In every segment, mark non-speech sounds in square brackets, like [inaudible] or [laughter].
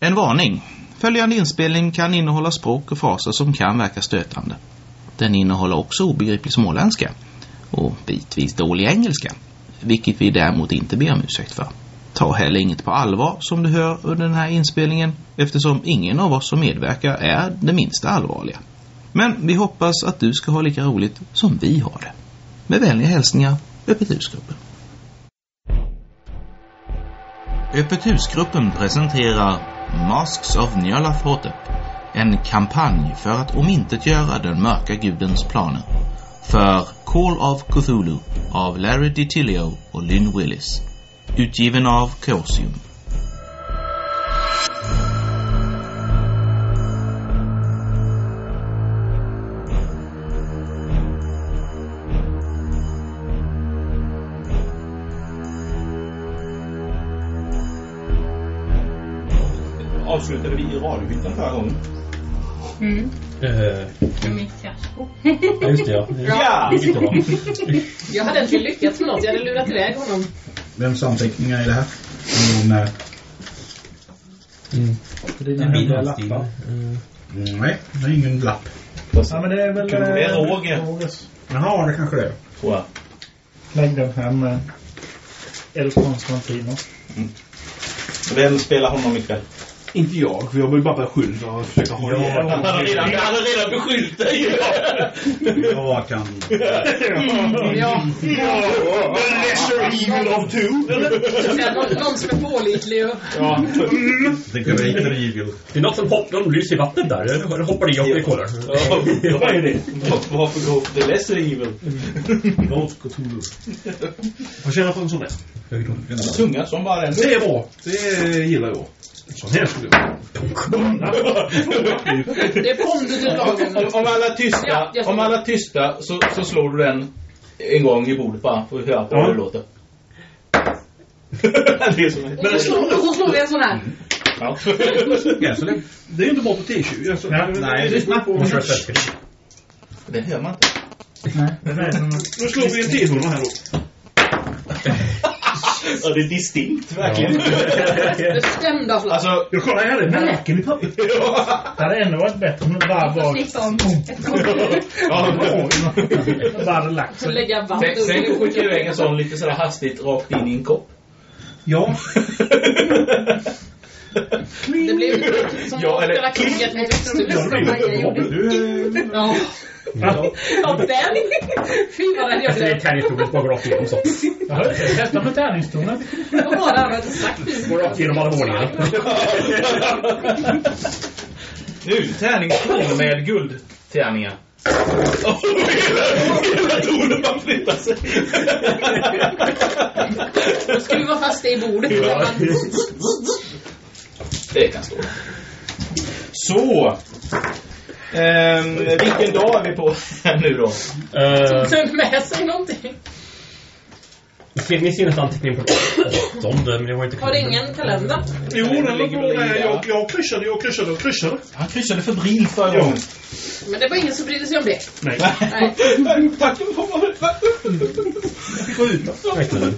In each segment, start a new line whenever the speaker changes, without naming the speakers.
En varning. Följande inspelning kan innehålla språk och fraser som kan verka stötande. Den innehåller också obegriplig småländska och bitvis dålig engelska, vilket vi däremot inte ber om ursäkt för. Ta heller inget på allvar som du hör under den här inspelningen eftersom ingen av oss som medverkar är det minsta allvarliga. Men vi hoppas att du ska ha lika roligt som vi har det. Med vänliga hälsningar, Öppet husgruppen. Öppet husgruppen presenterar Masks of Njalafhotep, en kampanj för att omintetgöra den mörka gudens planer. För Call of Cthulhu av Larry DiTilio och Lynn Willis. Utgiven av Chaosium.
avslutade vi i radiohytten förra gången.
Mm,
Eh,
med mitt fiasko.
ja, just [laughs] det ja.
Ja!
Just det, va?
Jag hade inte lyckats med något, jag hade lurat iväg honom.
Vems anteckningar är det här? Om, eh,
Det
är mina lappar. eh, nej, det är ingen lapp.
Ja, men det är väl...
Kunde det
eh,
vara Roger?
Rogers.
Jaha, det kanske det är.
Tror jag.
Lägg den här med El Constantino.
Vem spelar honom ikväll?
Inte jag, för jag var ju bara beskylld och försökte ha det.
Han har redan, han har redan beskyllt dig!
Jag kan...
Ja,
The lesser evil of two!
någon, någon som är pålitlig och...
The Great Evil.
Det är något som hoppar, någon lyser i vattnet där. Det hoppar i och vi kollar.
[laughs] Vad är det? Varför gå för the lesser evil?
Lord Cthulhu. Vad känner du för en sån där?
Tunga som bara den.
Det är bra. Det gillar jag. Sån här skulle jag.
Det kom du till
Om,
lagom.
om alla
Ja,
tysta,
jag
om
förstår.
alla tysta så, så slår du den en gång i bordet bara för att höra på
Ja.
hur det låter. [laughs] det är som
Och så slår, och så slår vi en sån här.
Ja.
Ja, så det...
Det är ju inte bra på T20. Alltså,
Nej, lyssna på...
Det hör man inte.
Nu slår vi en T100 här då.
Ja, det är distinkt verkligen.
Bestämda slag.
Alltså,
Jag kollar här, det är märken i pappret.
Det hade ändå varit bättre om det bara var...
Liksom ett kort.
ja,
Bara hade lagt
Så
sig.
lägga vatten
Sen, sen
under.
skickar jag iväg en sån lite sådär hastigt rakt in i en kopp. [laughs]
Ja.
Det blev lite som
Ja,
att
eller
spela
klick.
kriget med
Ja, det
växthus.
är ju bra. Du, eh,
Ja, Ja, den! Fy vad den jag
Alltså, Det är
blev.
tärningsbordet bara rakt igenom så.
Jag hörde det. Testa med tärningstonen.
Vad var det han hade sagt?
Går rakt igenom alla våningarna.
nu, tärningskronor med guldtärningar. Åh, hela, hela tonen bara flyttar sig.
Skruva fast det i bordet.
Det kan stå. Så. Ehm, vilken dag är vi på här nu då?
Eh,
Tog med sig någonting.
ser Ni ser nästan anteckningen på åttonde, men det var inte
Har det ingen kalender?
Jo, den var bra där. Jag, jag kryssade, jag kryssade, jag kryssade.
Han kryssade febrilt förra gången.
Men det var ingen som brydde sig om det.
Nej.
Nej.
Tack för
Verkligen.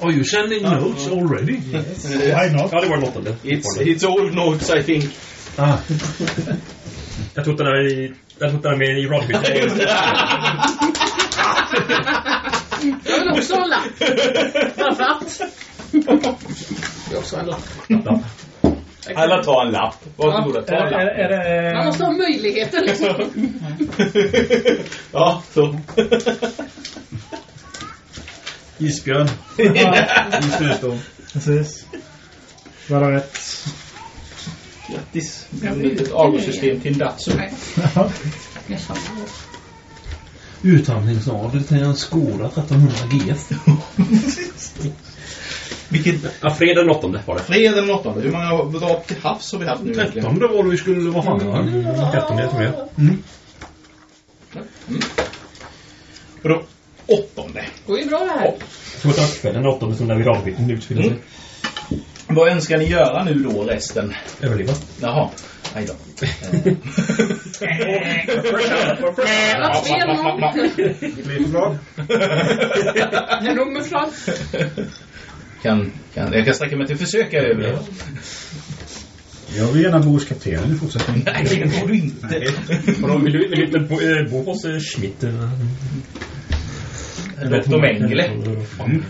Are you sending notes already?
Why not?
Ja, det var den åttonde.
It's, it's old notes I think.
Ah.
Jag tror inte den är i... Jag tror inte den är med i radiobytet.
[laughs]
Jag vill också ha en lapp. Varför att? Jag vill också ha en lapp.
Alla tar en lapp. Varsågoda, ta
Är,
en
är,
lapp.
är det...
Man måste ha möjligheter liksom.
ja, så.
Isbjörn.
Ja,
I snöstorm.
precis. Var det rätt?
Grattis. Ett litet avgångssystem till en Datsu.
Ja.
Utandningsadel till en skola 1300 GF.
Vilken
Ja, fredag den åttonde var det.
fred den åttonde. Hur många drag till havs har vi haft nu egentligen?
Trettonde var det vi skulle vara framme va?
Mm, Trettonde tror jag.
Och då, åttonde.
Det går ju bra det här.
Jag tror att det var kvällen den åttonde som när vi radiobytet utfyllde
Mm.
sig.
Vad önskar ni göra nu då resten?
Överleva.
Jaha. Aj [laughs] då.
Vad spel någon?
Flipblad.
En rum med flagg.
kan, kan, jag kan sträcka mig till försöka överleva.
Jag vill gärna bo hos kaptenen i fortsättningen.
Nej, det får du inte.
Vadå, vill du vill du inte bo, eh, bo hos eh, Schmidt? eller- eller-
Doktor Mengele.
Mm.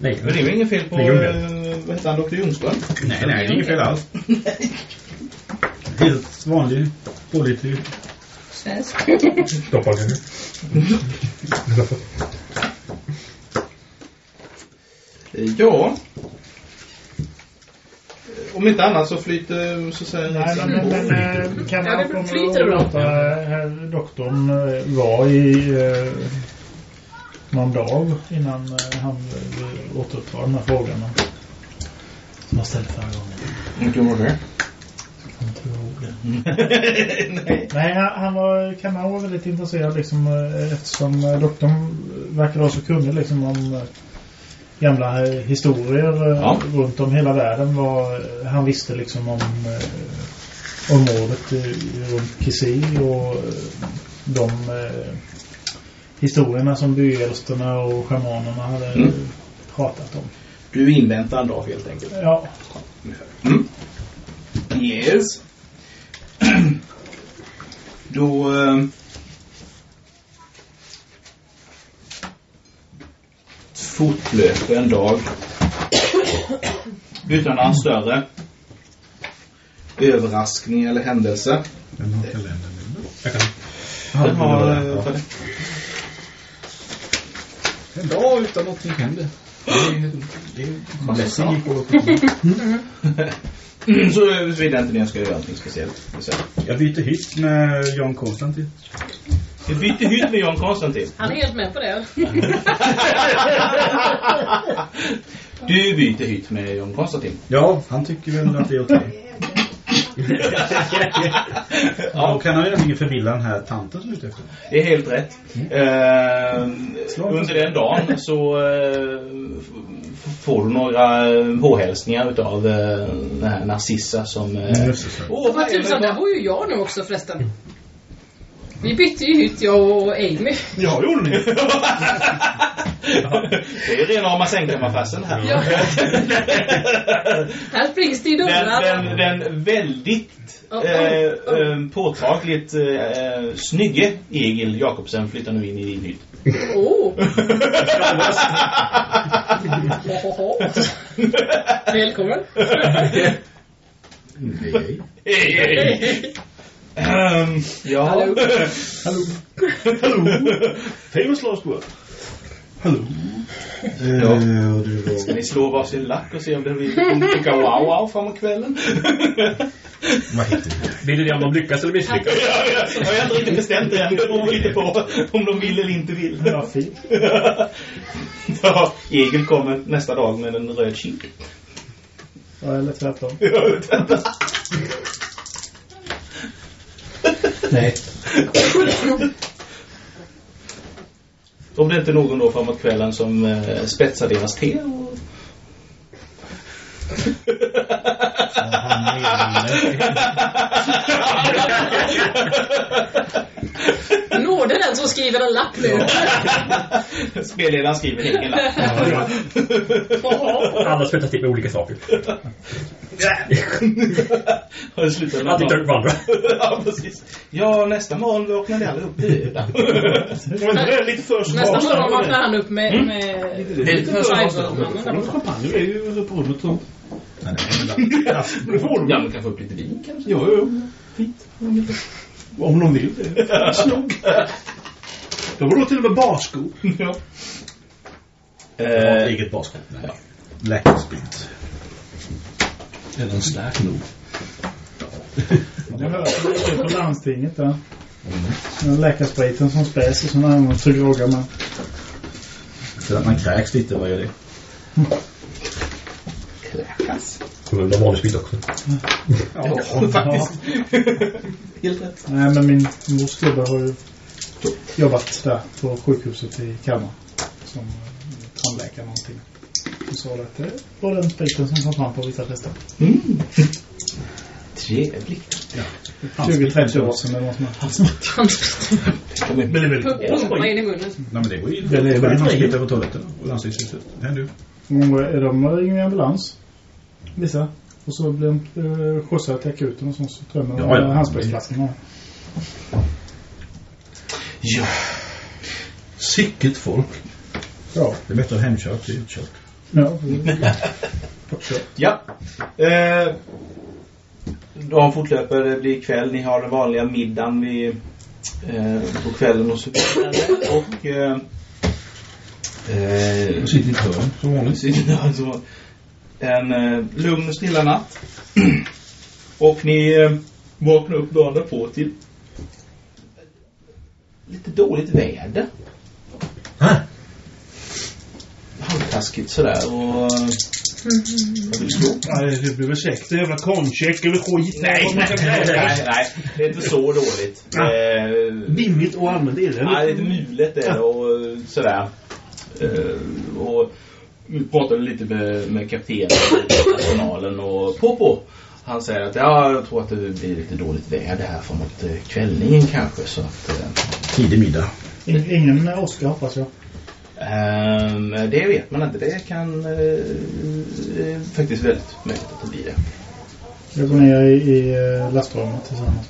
Nej,
Men det är väl inget fel på...
Det är Ljunggren.
eh, Vad heter han? Dr. Ljungström?
Nej, nej, det är inget fel alls. Helt vanlig, pålitlig.
Svensk.
stoppa det.
Eh, Ja. Eh, Om inte annat så flyter så att säga...
Nej, men, men, men eh, kan
Ja, det
man komma
flyter
och
bra.
låta herr doktorn eh, vara i eh, någon dag innan eh, han eh, återupptar de här frågorna? Som jag ställde förra gången.
Inte vad det
Han tror det. Nej, han, han var, kan han vara väldigt intresserad liksom, eh, eftersom eh, doktorn verkar vara så kunnig liksom, om eh, gamla eh, historier eh,
Ja.
runt om hela världen. Vad eh, han visste liksom om eh, området eh, runt Kissi och eh, de eh, historierna som byälsterna och schamanerna hade eh,
Mm.
pratat om.
Du inväntar en dag helt enkelt.
Ja,
Yes. [clears throat] Då... eh, fortlöper en dag [clears throat] utan några större överraskning eller händelse.
Vem har kalendern nu då?
Den har... eh,
Ja. En dag utan någonting händer. Det är ledsen gick åt.
Mm, Så eh, såvida inte ni önskar göra någonting speciellt. Så.
Jag byter hytt med John Constantin.
Vi byter hytt med John Konstantin.
Han är helt med på det.
Du byter hytt med John Konstantin.
Ja, han tycker väl att det är okej. [laughs] Ja, och kan han ju inte förvilla den här tanten som är ute efter.
Det är helt rätt. Ehm,
Slå.
under den dagen så eh, f- får du några eh, påhälsningar utav eh, den här Narcissa som... eh, Åh,
Vad
vad är
tusan, där
det?
bor ju jag nu också förresten. Vi bytte ju hytt, jag och Amy.
Ja, gjorde ni.
[laughs] Det är rena rama sängkammaraffären här.
Ja. [laughs] Här springs det i
Den,
dörrar.
den, den väldigt
Oh, oh,
eh, eh,
oh.
påtagligt eh, snygge Egil Jakobsen flyttar nu in i din hytt.
[laughs] Åh! Välkommen.
[laughs] Nej.
Hej, hej. Ehm, ja.
Hallå.
Hallå.
Hallå.
Famous last word.
Hallå.
Ja.
Eh, och du
Ska
var...
ni slå varsin lack och se om det blir lite wow wow framåt kvällen?
Vad heter du? [laughs]
Blir det det om de lyckas eller misslyckas?
ja, ja, jag har inte riktigt bestämt det än. Det beror lite på om de vill eller inte vill.
det var fint.
ja, Egil kommer nästa dag med en röd kink.
Ja, Eller tvärtom.
Nej.
om det inte är någon då framåt kvällen som eh, spetsar deras te [laughs] och...
Nåde den som skriver en lapp nu.
Spelledaren skriver ingen lapp.
Alla spetsar till med olika saker.
Har det slutat med
Att tittar
att-
upp på andra.
[laughs] ja, precis. Ja, nästa morgon vaknar ni alla upp
[laughs]
döda.
Men det är lite för
Nästa morgon
smaksamt.
vaknar han upp med... med
Det är lite för
Fireball-mannen där borta.
Champagne är ju på rummet. så-
Nej, [laughs] nej.
Det får de.
Ja, men kan få upp lite vin kanske.
Jo, jo. Fint. Om de vill det. Snog. De har då till och med barskor.
Ja.
Ja,
Eh,
Eget basket. Nej. Läckersprit. Eller en slack nog.
Jag hörde det på landstinget där. Den läkarspriten som späs och som används för groggar man.
För att man kräks lite, vad gör det?
Kommer det vanlig sprit också?
Ja.
[laughs] faktiskt. Helt rätt.
Nej, men min mors gubbe har ju jobbat där på sjukhuset i Kalmar. Som eh, tandläkare någonting. Hon sa det att det var den spriten som kom fram på vissa fester.
Mm. Trevligt.
20-30 år sedan eller något sånt. där.
Han
Men det är väl...
pumpar in i munnen.
Nej, men det går ju...
Det är väl-
Det är väl på toaletten och landstingshuset. Det händer ju.
Och eh, de ringer en ambulans. Vissa. Och så blir de eh, skjutsade till akuten och så, så tömmer de
Ja, ja.
eh, handsprejsflaskorna.
Ja.
Sicket folk.
Ja.
Det är bättre att hemkört till utkört.
ja. Uppkört.
Ja. Eh, dagen fortlöper, det blir kväll. Ni har den vanliga middagen vid, eh, på kvällen och så vidare. Och... Eh, eh,
Jag sitter i ett hörn som vanligt.
alltså, en eh, lugn och stilla natt. och ni eh, vaknar upp dagen därpå till lite dåligt väder.
Hä?
Halvtaskigt sådär och... Jag vill slå.
Nej, det blir väl käckt. Det är jävla koncheck eller skit.
Nej, nej, nej, nej. Det är inte så dåligt. Eh,
Dimmigt och allmänt elände.
nej, det är lite mulet är det och eh, sådär. Eh, och vi pratade lite med, med kaptenen och personalen och Popo. Han säger att ja, jag tror att det blir lite dåligt väder här framåt eh, kvällningen kanske. Så att, eh,
Tidig middag.
In- Ingen åska hoppas jag.
Ehm, det vet man inte. Det kan eh, eh, faktiskt väldigt möjligt att det blir det.
Jag går ner i, i eh, lastrummet tillsammans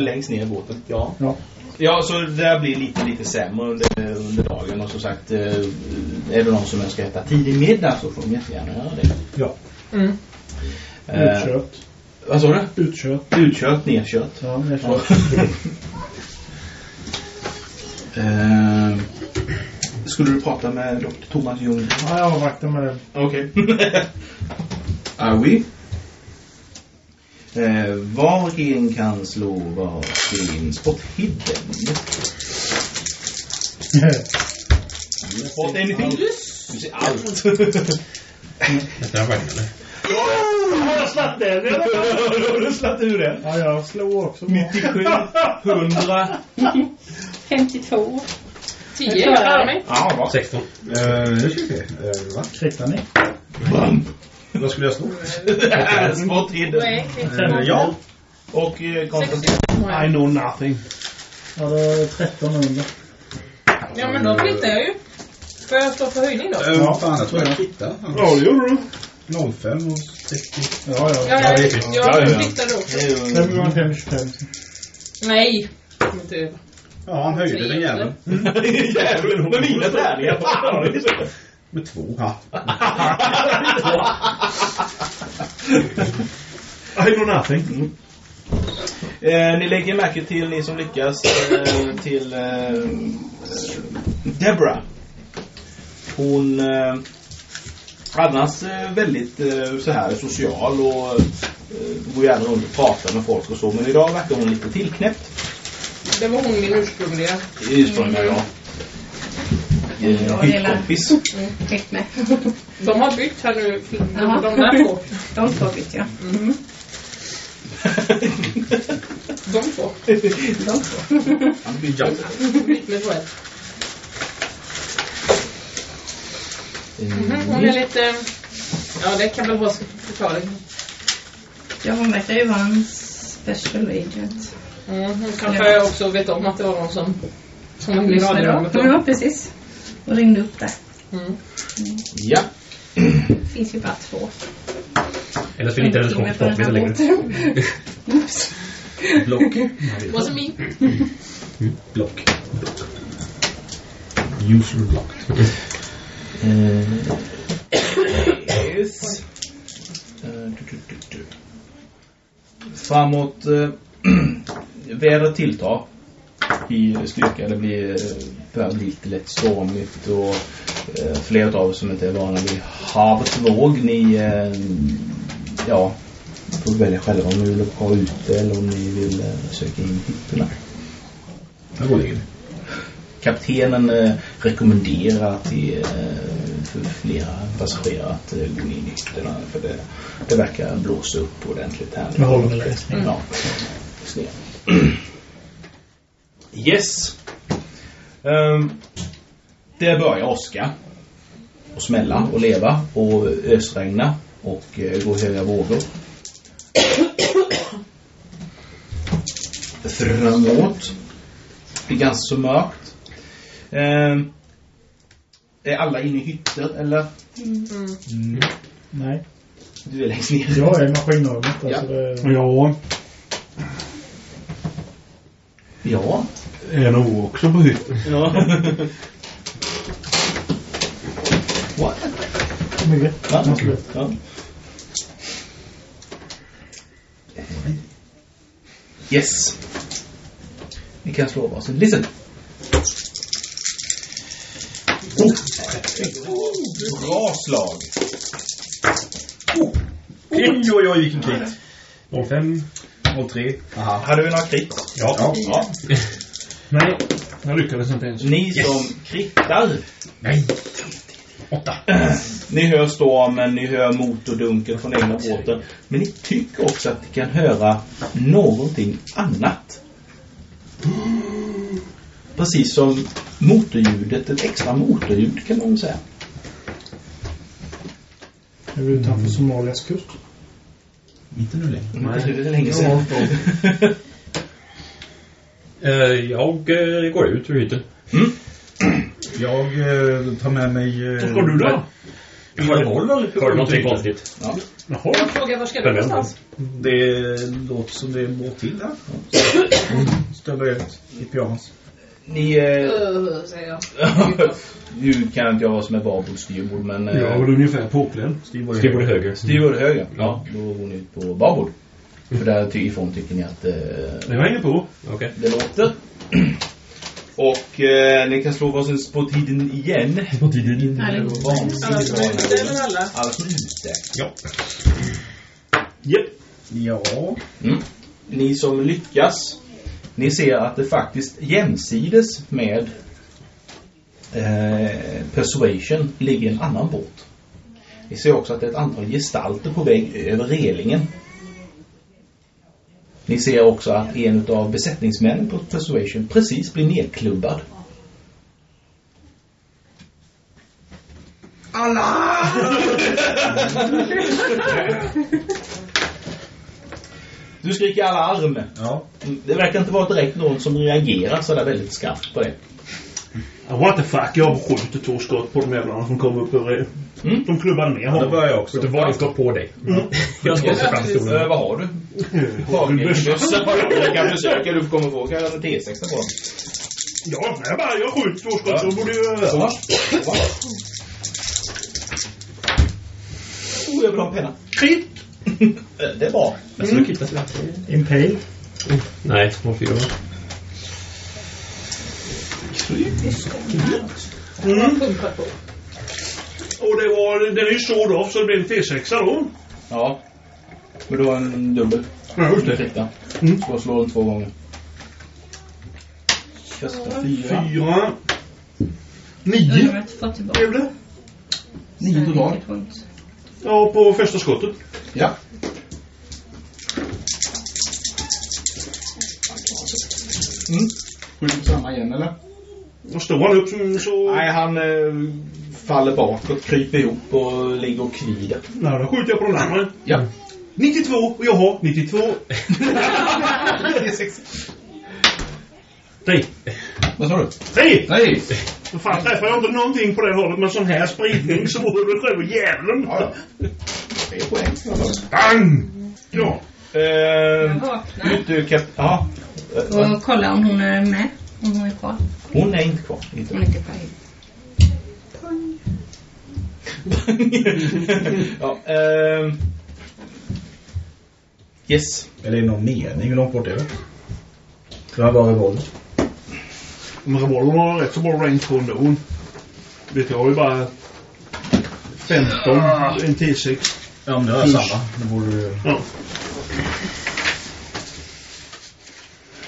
[laughs] Längst ner i båten. Ja.
Ja.
Ja, så det där blir lite, lite sämre under, under dagen. Och som sagt, eh, är det någon som önskar äta tidig middag så får de jättegärna göra det.
Ja.
Mm.
Eh,
Utkört.
vad sa du?
Utkört.
Utkört, nerkört.
Ja, jag
[laughs] Ja.
kör.
Ehm, skulle du prata med Dr. Thomas Ljung?
Ja, jag avvaktar med
[laughs]
det.
Okej. [laughs] Är vi? Eh, var en kan slå var sin spot hidden. Spot anything? Du ser allt.
Heter han Ragnar eller?
Har jag slatt den?
Har du slagit ur den?
ja, jag slår också.
97, 100.
52.
Tio, jag klarar mig.
Ja, va?
16.
Eh, Nu ska vi se. Eh, Va?
Kritar ni?
Bump.
Vad skulle jag slå?
Spot hidden.
Nej,
Eh, Ja.
Och eh, koncentration.
I know nothing.
Ja, det är 13 under.
Ja, men då flyttar jag ju. Får jag stå för höjning då?
Eh,
Ja.
Fan, jag tror jag hittade.
Ja, det gjorde du.
05 och 60.
Ja, ja.
Ja, jag,
det är fint.
Ja, ja, ja.
jag flyttar då också.
525, 25.
Nej. Kom inte över.
Ja, han höjde den jäveln.
[laughs] Jävlar, med mina tärningar. Fan!
Med två. Ja. [laughs]
I know nothing.
Eh, ni lägger märke till, ni som lyckas, eh, till eh, eh, Deborah. Hon eh, annars eh, väldigt eh, så här social och eh, går gärna runt och pratar med folk och så. Men idag verkar hon lite tillknäppt.
Det var hon min ursprungliga.
Det är ursprungligen jag. Eh,
Ja, det
[laughs]
är
Skitkompis.
Klick med.
De har bytt här nu. De,
Jaha.
de där två.
[laughs] De två bytte jag.
Mhm. De två.
De två.
Bytt med Joel. Mhm, Hon är lite... Ja, det kan väl vara sin förklaring.
Ja, hon verkar ju vara en special agent.
Mm, hon kanske också vet om att det var någon som, som hon blev avdraget om.
Ja, precis. Och ringde upp där.
Mm.
ja.
Finns ju bara två.
Eller så är det inte hennes kompis kompis längre.
Oops.
Block.
Wasn't me.
Block.
Usual block.
Yes. Eh, du, du, du, du. Framåt eh, [clears throat] vädret tilltar i styrka. Det blir, eh, börjar bli lite lätt stormigt och eh, flera av er som inte är vana vid havets våg, ni eh, ja, får välja själva om ni vill vara ute eller om ni vill eh, söka in hytterna.
Där går det.
Kaptenen eh, rekommenderar till eh, för flera passagerare att eh, gå in i hytterna för det, det verkar blåsa upp ordentligt här.
Jag håller med dig.
Ja. Just det. [clears throat] Yes. Ehm, det börjar åska och smälla och leva och ösregna och eh, gå höga vågor. Framåt. Det är ganska så mörkt. Ehm, är alla inne i hytter eller?
Mm.
Nej,
Du är längst ner.
jag är maskinögat. Alltså det,
Ja,
Ja.
är nog också på hytten.
Ja. [laughs] What?
mycket.
Va?
Absolut.
Ja. Yes. Ni kan slå varsin. Listen. Oh. Bra slag.
Oj, oj, oj, vilken krit.
05.
03.
Hade vi några krit?
Ja. ja.
Ja.
Nej, jag lyckades inte ens.
Ni
Yes.
som krittar.
Nej. 8.
Eh, Ni hör stormen, ni hör motordunken från egna båten. Men ni tycker också att ni kan höra någonting annat. Precis som motorljudet, ett extra motorljud kan man säga.
Är vi utanför
Mm.
Somalias kust?
Inte nu längre.
Nej.
Det är länge sedan.
jag eh, går ut ur hytten.
Jag eh, tar med mig... Eh,
Vad går du då?
Hör du någonting konstigt?
Jaha.
Jag frågar var ska du någonstans?
Det låter som det är en båt till där. Stöver ut i pyjamas.
Ni... Eh, [laughs]
Uh, säger jag.
nu kan inte jag vara som är bar på styrbord, men... Eh,
Jag var ungefär påklädd.
Styrbord
Skriv borde höger.
Styrbord höger. Ja, då går ni ut på babord. För där ty- ifrån tycker ni att... Eh,
Det var inget på.
Okej.
det låter. Och eh, ni kan slå varsin på tiden igen. På tiden.
Härligt. Alla som är ute eller
Alla
alla?
som är ute.
Japp.
Ja.
Ni som lyckas, ni ser att det faktiskt jämsides med eh, Persuasion ligger en annan båt. Ni ser också att det är ett antal gestalter på väg över relingen. Ni ser också att en av besättningsmännen på Persuasion precis blir nedklubbad. Du skriker alla arm.
Ja.
Det verkar inte vara direkt någon som reagerar sådär väldigt skarpt på det.
Ah, What the fuck, jag skjuter två skott på de jävlarna som kom upp över
Mm.
De klubbade ner
Då
honom.
börjar jag också.
Vet du vad, den står på dig. Jag tar också fram stolen.
Eh, vad har du? Jag kan försöka, du kommer få kanske en T6 på den.
Ja, jag bara, jag skjuter två skott. Då borde ju...
Så. Va? Oh, jag vill ha en penna. Krit! Det är bra.
Jag skulle kitta sig.
Impale?
Nej, 04 va?
Mm.
Pumpar på.
Och det var... Den är ju såld av så det blev en T6 då.
Ja. Men du har en dubbel.
Ja, just det.
Ursäkta.
Mm.
Ska slå den två gånger. Första fyra.
Fyra.
Jag
Nio
har inte fått tillbaka.
blev det.
Nio totalt.
Inget ont.
Ja, på första skottet.
Ja. Mm. Skjuter på samma igen eller?
Och står han upp som så...
Nej, han eh, faller bakåt, kryper ihop och ligger och kvider.
Nej, då skjuter jag på den andra.
Ja.
92 och jag har 92. Nej.
Vad sa du?
Nej!
Nej!
Vad fan träffar jag inte någonting på det hållet med sån här spridning så vore det själva djävulen.
Tre poäng.
Bang! Ja.
Eh,
Ehm,
Jag vaknar
ut ur kap... Ja. Eh, va?
och kollar om hon är med. Om hon är kvar.
Hon är inte kvar.
Hon
[laughs] Inte.
är inte kvar.
ja, ehm. yes.
Eller är det någon mening hur långt bort är det? Det här var revolver.
Men revolvern har rätt så bra range på ändå. Vet jag har ju bara 15, en T6.
Ja, men det var samma. Det borde...
Ja.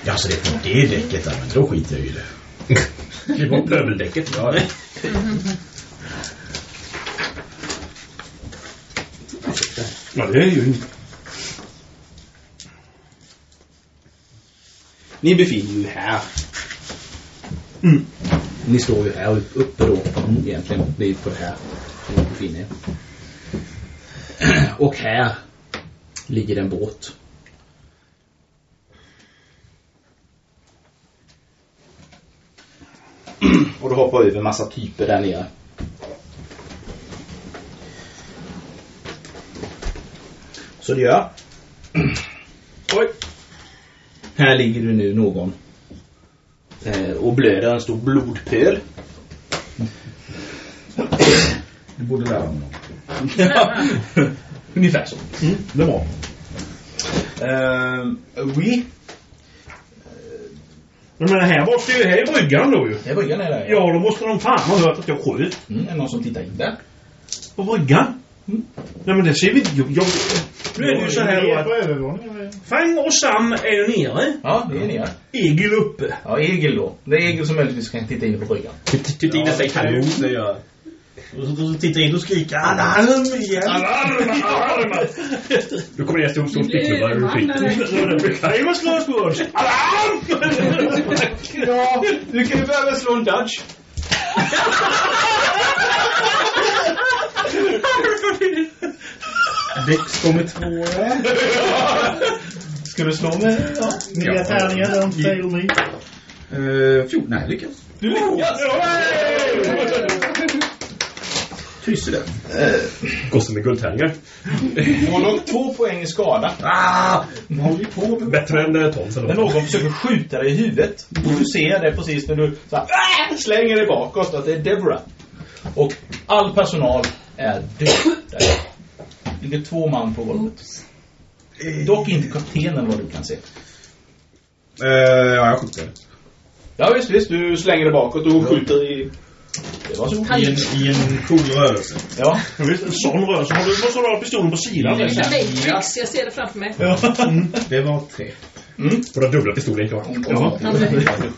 Ja, så det är på det däcket där. Men då skiter jag i [laughs] det.
Klipp bort plöveldäcket. Ja.
ja, det är ju inte...
Ni befinner er ju här.
Mm.
Ni står ju här upp- uppe då egentligen. Det är ju på det här ni befinner er. Och här ligger det en båt. Och du hoppar över en massa typer där nere. Så det gör. Oj! Här ligger du nu någon. Eh, och blöder en stor blodpöl.
Du borde lära honom.
Ja, Ungefär så.
Det är bra.
Eh,
Ehm, oui.
Men det här måste ju... Här är bryggan då ju.
Det är bryggan är där.
Ja, då måste de fan ha hört att jag sköt
Mm, är det någon som tittar in där?
på bryggan. Mm. Nej men det ser vi inte... Jag, jag, nu är det ju så här då att... Fang och Sam är ju nere.
Ja, det är ni. ja.
Egil uppe.
Ja, Egil då. Det är Egil som möjligtvis kan titta in på bryggan.
Titta in sig kanon.
det gör och så- så tittar jag in och skriker alarm igen.
Alarm! Alarm!
Då kommer det en stor, stor splittklubba ur skiten.
Nej, vad slås på oss? Alarm!
Ja, du kan ju behöva slå en dodge.
Dex kommer två.
Ska du slå med? Ja.
Nya tärningar, de säger mig.
Eh,
Uh, 14, nej, lyckas.
Du lyckas!
Tyst det.
Går som en guldtärningar.
Får dock två poäng i skada.
Bättre än eh, Toms
När
eller
någon försöker skjuta dig i huvudet. Du ser det precis när du så här, "Ah!" slänger dig bakåt att det är Deborah. Och all personal är död. Där. Det ligger två man på golvet. Dock inte kaptenen vad du kan se.
Eh,
ja, jag skjuter.
Ja visst, visst. Du slänger dig bakåt och skjuter i... Det var så.
Han
I en cool rörelse.
Ja.
Ja, Visst, en sån rörelse. Har du måste du ha pistolen på sidan.
Det är Matrix, jag ser det framför mig.
Mm.
Det var tre.
Mm.
Våra dubbla pistoler är klara.
Han dör.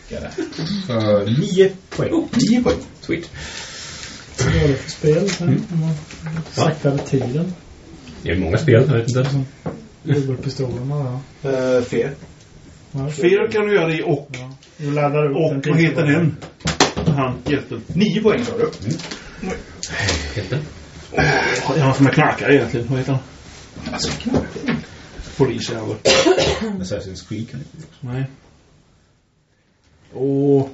För nio poäng.
Oh,
nio poäng. Sweet.
Vad var det för spel? här?
Mm.
Om man Saktade tiden.
Det är många spel, jag vet inte.
Dubbelpistolerna, ja.
Uh, fel.
Ja.
Fel kan du göra i och.
Du laddar
Mm.
upp
Och
den
vad heter
pistolen.
den? Han, hjälten.
Nio poäng sa du.
Mm.
Vad är han som är knarkare egentligen? Vad heter han?
Alltså,
Polis är han väl?
Assassin's Creed kan du
Nej. Och...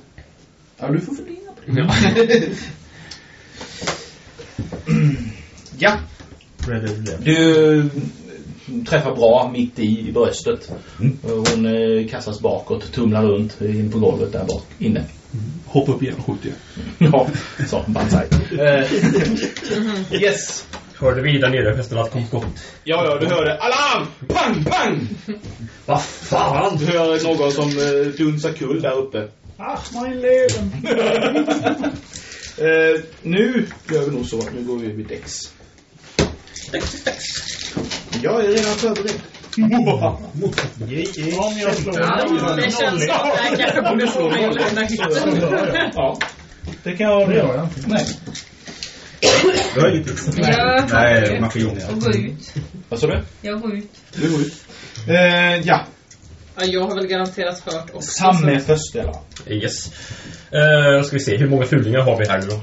Ja, du får fundera på det.
Ja.
Ja,
Red Dead Redemption.
du eh, träffar bra mitt i bröstet. Och Hon eh, kastas bakåt, tumlar runt eh, in på golvet där bak inne. [laughs]
Hoppa upp igen och skjut igen.
Ja, sa Banzai. Eh, yes.
Hörde vi där nere förresten att kom skott?
Ja, ja, du hörde alarm! Pang, pang!
Vad fan!
Du hör någon som eh, dunsar kull där [laughs] uppe.
Ach, mein Leben!
Eh, nu gör vi nog så. Nu går vi vid Dex. Jag är redan förberedd.
Om jag slår
Ja, Det känns som att jag kanske borde få mig att lämna hytten.
Ja.
Det kan jag göra.
Du har ingenting.
Ja.
Nej, maskiner.
Och gå ut.
Vad sa du?
Jag går ut.
Du går ut. Eh, ja,
Ja, jag har väl garanterat hört också.
Sam är först i alla fall.
Yes. Eh, Då ska vi se, hur många fulingar har vi här nu då?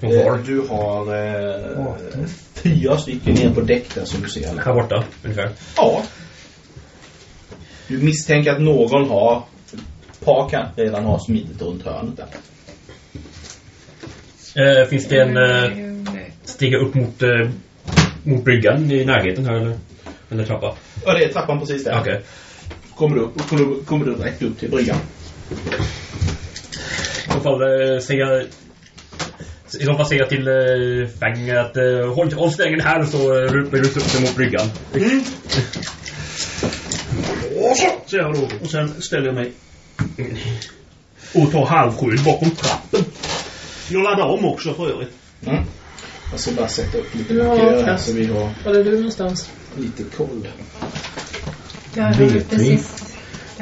Hon
Eh,
har.
Du har eh, fyra stycken nere på däck där som du ser.
Här borta, ungefär.
Ja. Du misstänker att någon har, ett par kanske redan har smidigt runt hörnet där.
Eh, Finns det en eh, stiga upp mot, eh, mot bryggan i närheten här eller? Eller trappa?
Ja, det är trappan precis där.
Okej.
Kommer du upp, kommer du, kommer du rätt upp till bryggan.
I så fall eh, säga... I så fall säga till eh, Fang att eh, håll, håll stängen här så eh, ruper du upp den mot bryggan.
Mm.
[laughs]
Säger jag då. Och sen ställer jag mig. Och tar halvskydd bakom trappen. Jag laddar om också för övrigt.
Mm. Jag ska bara sätta upp lite
Ja,
mycket här
fast.
så vi har
Var är du någonstans?
lite koll.
Jag rör precis.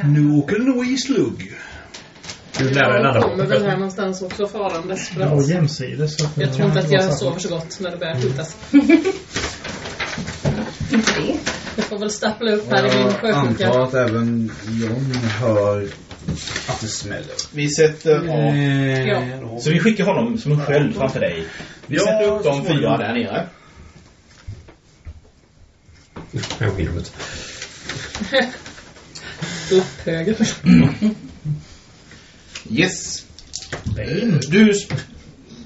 Nu åker nog i slugg.
Du lär dig
Jag
ladda
kommer väl här
upp.
någonstans också farandes. för
Jag
att-
har jämsides. så att-
Jag tror inte att jag sover så gott när det börjar skjutas.
Inte det.
Jag får väl stappla upp här i min sjösjuka.
att även John hör att det smäller.
Vi sätter av...
Ja.
Så vi skickar honom som en sköld framför dig. Vi
Ja,
sätter upp de
så småningom.
fyra där nere.
Jag går in i rummet.
Lapphöger.
Yes. Mm. Du...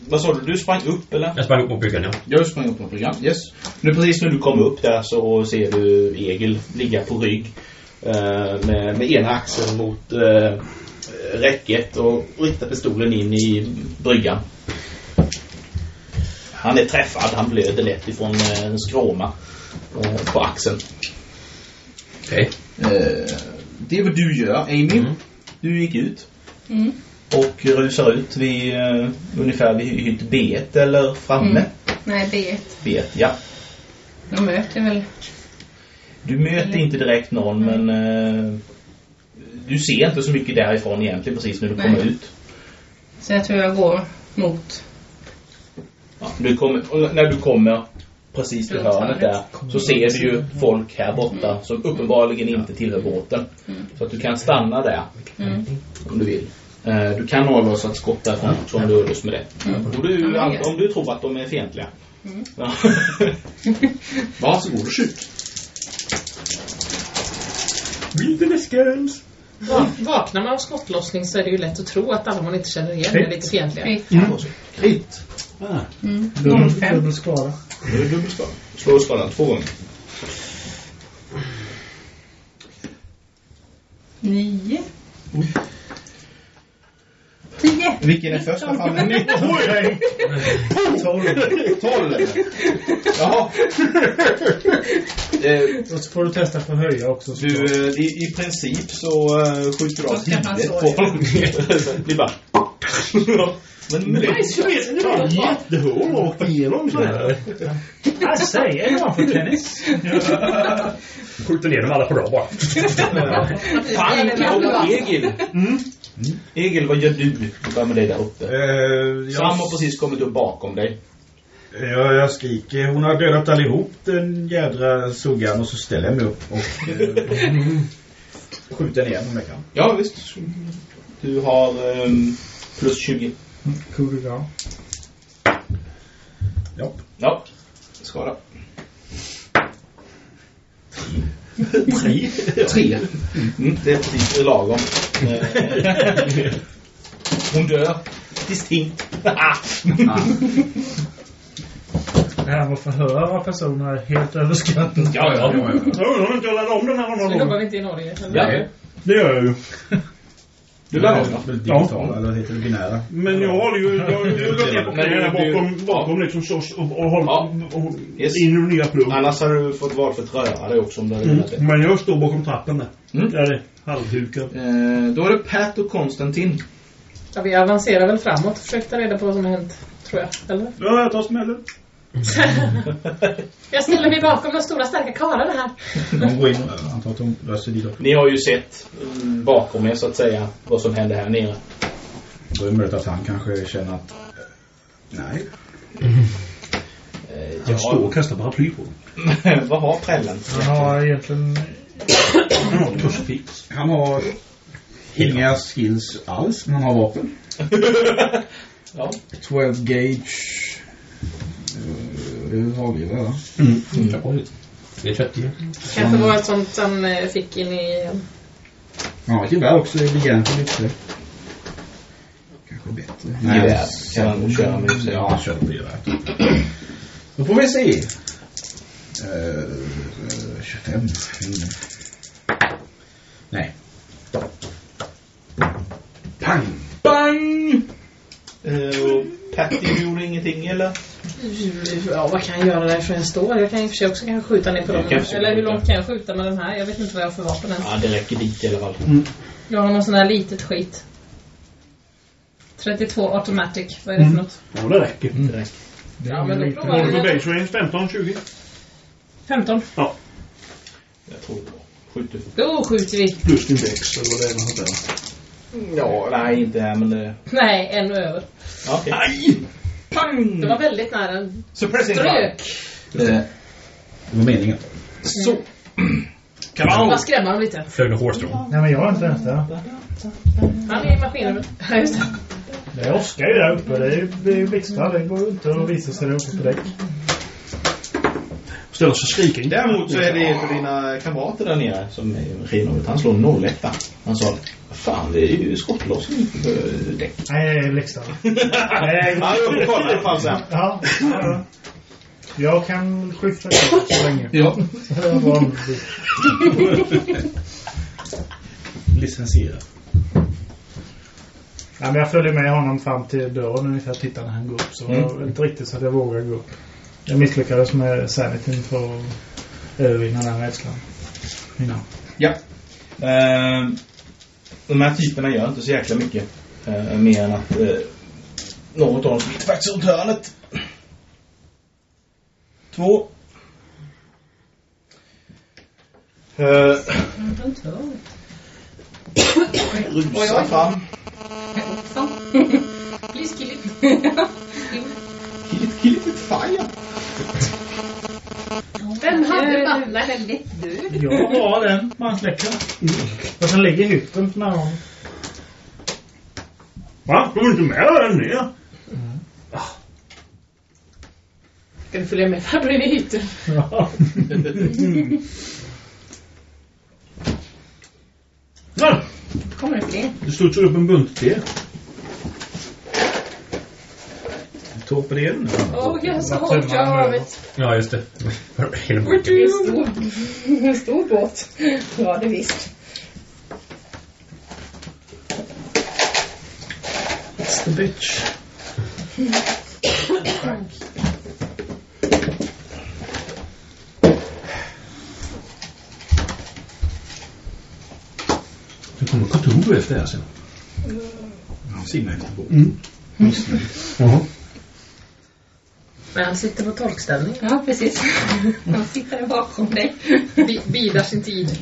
Vad sa du? Du sprang upp eller?
Jag sprang upp mot bryggan ja.
Jag sprang upp på bryggan. Yes. Nu precis när du kommer upp där så ser du Egil ligga på rygg eh, med, med ena axeln mot eh, räcket och riktar pistolen in i bryggan. Han är träffad, han blöder lätt ifrån eh, en skråma eh, på axeln.
Okej.
Eh, det är vad du gör, Amy.
Mm.
Du gick ut
Mm.
och rusar ut vid eh, ungefär vid hytt B1 eller framme.
Mm. Nej, B1.
B1, ja.
De möter väl.
Du möter inte direkt någon
Mm.
men eh, du ser inte så mycket därifrån egentligen precis när du
Nej.
kommer ut.
Så jag tror jag går mot.
Ja, du kommer, och när du kommer precis vid
Runt
hörnet där så ser du ju folk här borta som uppenbarligen inte tillhör båten.
Mm.
Så att du kan stanna där
Mm.
om du vill. Eh, Du kan avlossa ett skott därifrån också om du har lust med det.
Mm.
Och du,
Ja, men det-
om du tror att de är fientliga.
Mm.
Ja. [laughs] Varsågod och skjut.
Va- Vaknar man av skottlossning så är det ju lätt att tro att alla man inte känner igen är lite fientliga.
Kvitt.
Krit.
Mm.
Dubbel,
05.
dubbel skada.
Då är det dubbelskada. Slå skadan två gånger.
9. 10.
Vilken är första fallet? 19 poäng! 12!
[laughs]
12! [laughs] Jaha. Eh,
Och så får du testa för att höja också.
Du,
såklart.
eh, i, i princip så eh, skjuter du av
Då ska man
huvudet
så
på honom. Det är bara... Men
Mm.
nu...
Jättehål rakt igenom så här.
Jag säger vad för tennis.
Skjuter ner dem alla på rad bara.
Fan, och Egil! Mm. Egil, vad gör du? Vi börjar med dig där uppe. Sam
Eh, jag,
har precis kommit upp bakom dig.
jag, jag skriker. Hon har dödat allihop den jädra suggan och så ställer jag mig upp och eh, skjuter ner honom om jag kan.
Ja, visst. Du har ehm, plus 20.
Cool, ja. Ja.
Ja, skada.
Tre.
Tre. Mm, det är precis det är lagom. Eh, Hon dör. Distinkt. [laughs] Ah.
Det här var förhör av personer helt överskattande.
ja, ja.
Jag undrar om inte jag laddade om den här
Så jobbar
omgången.
vi inte i Norge. eller?
ja.
Det gör jag ju.
Du lär dig.
väl digitala, eller heter det binära?
Men jag håller ju... Jag har ner på knäna bakom, bakom liksom så och, och håller
Ja.
och, och,
Yes.
in i den nya plugg.
Annars har du fått valfritt röra dig också om du hade
Mm.
velat det.
Men jag står bakom trappen där.
Mm.
Där är halvhukad.
Eh, då är det Pat och Konstantin.
Ja, vi avancerar väl framåt och försöker ta reda på vad som har hänt. Tror jag. Eller?
Ja, jag tar smällen.
[laughs] Jag ställer mig bakom de stora starka karlarna här.
Mm.
De går in och antar att de löser dit och
Ni har ju sett mm, bakom er så att säga vad som hände här nere.
Då är det möjligt att han kanske känner att... Nej.
Eh,
Jag står och kastar paraply på dem.
[laughs] vad har prällen?
Han har egentligen...
Ja, tuschfix.
Han har inga skills alls, men han har vapen.
Ja.
12 gauge... eh, Det är hagelgevär, va?
Mm. Det är 30.
Kanske var ett sånt han eh, fick in i...
Ja, ett gevär också i begränsad lyfte. Kanske bättre.
Gevär kan han köra med i och för sig.
Ja, han kör med gevär. Då får vi se. Eh, eh, 25. Mm. Nej. Pang! Bang!
Eh, och Patty du gjorde ingenting eller?
Ja, vad kan jag göra därifrån jag står? Jag kan i och för sig också kanske skjuta ner på
Jag
dem.
kan försöka
Eller hur
skjuta.
långt kan jag skjuta med den här? Jag vet inte vad jag har för vapen än.
Ja, det räcker dit i alla fall.
Jag har någon sån här litet skit. 32 automatic. Vad är det för något?
Ja, det räcker.
Det räcker.
Ja, men då provar
Har du på
jag.
base range 15, 20?
15.
Jag tror det var. Skjuter du?
Då skjuter vi.
Plus din dex eller vad det är man har där.
Ja, nej inte här men det...
Nej, ännu över.
Ja, okej. Aj!
Det
Pang!
var väldigt nära. en
Suppressing fire.
Strök.
Eh,
Det var meningen.
Så.
Jag
Mm.
Kanon!
bara skrämma dem lite.
Flög några hårstrån.
Nej, men jag är inte ens där.
Han är i maskinen. Ja, just det.
Det åskar ju där uppe. Det är det är ju blixtar. Det går ju inte att visa sig där uppe på däck.
Ställer sig och skriker.
Däremot så är det en av dina kamrater där nere som är skinhåret. Han slår 01. Han sa Fan, det är ju skottlossning på däck.
[laughs]
Nej, det är blixtar.
Han gjorde koll i alla fall sen.
Ja. ja, ja. Jag kan skjuta klart så länge.
Ja.
Jag var vanlig.
Licensiera.
Ja, men jag följer med honom fram till dörren ungefär tittar när han går upp. Så jag var inte riktigt så att jag vågar gå upp. Jag misslyckades med sanityn för att övervinna den rädslan. Mina.
Eh, de här typerna gör inte så jäkla mycket. Eh, mer än att eh, något av dem smiter faktiskt runt hörnet. Två. Eh,
Runt hörnet. Oj, oj,
rusar
oj.
fram.
Hoppsan. Please kill it.
Kill it, fire.
Vem hade
Eh,
vattnet väldigt död?
Jag har den brandsläckaren. Och sen ligger hytten på nära
Va? Kommer inte med den ner?
Ska du följa med farbror in i hytten?
Ja.
Nej,
Kommer det fler?
det studsar upp en bunt te.
Torpederen.
Oh, jag har så
Vad
hårt
tummar han
jag av
nu?
ett...
Ja, just det. Hela
Det
boken.
är en stor- en stor båt. Ja, det visst.
It's the bitch.
Det kommer Cthulhu efter det här sen.
Han simmar efter båten.
Mm. Jaha.
Men han sitter på torkställning.
Ja, precis. Han sitter där bakom dig.
Bi- Bidar sin tid.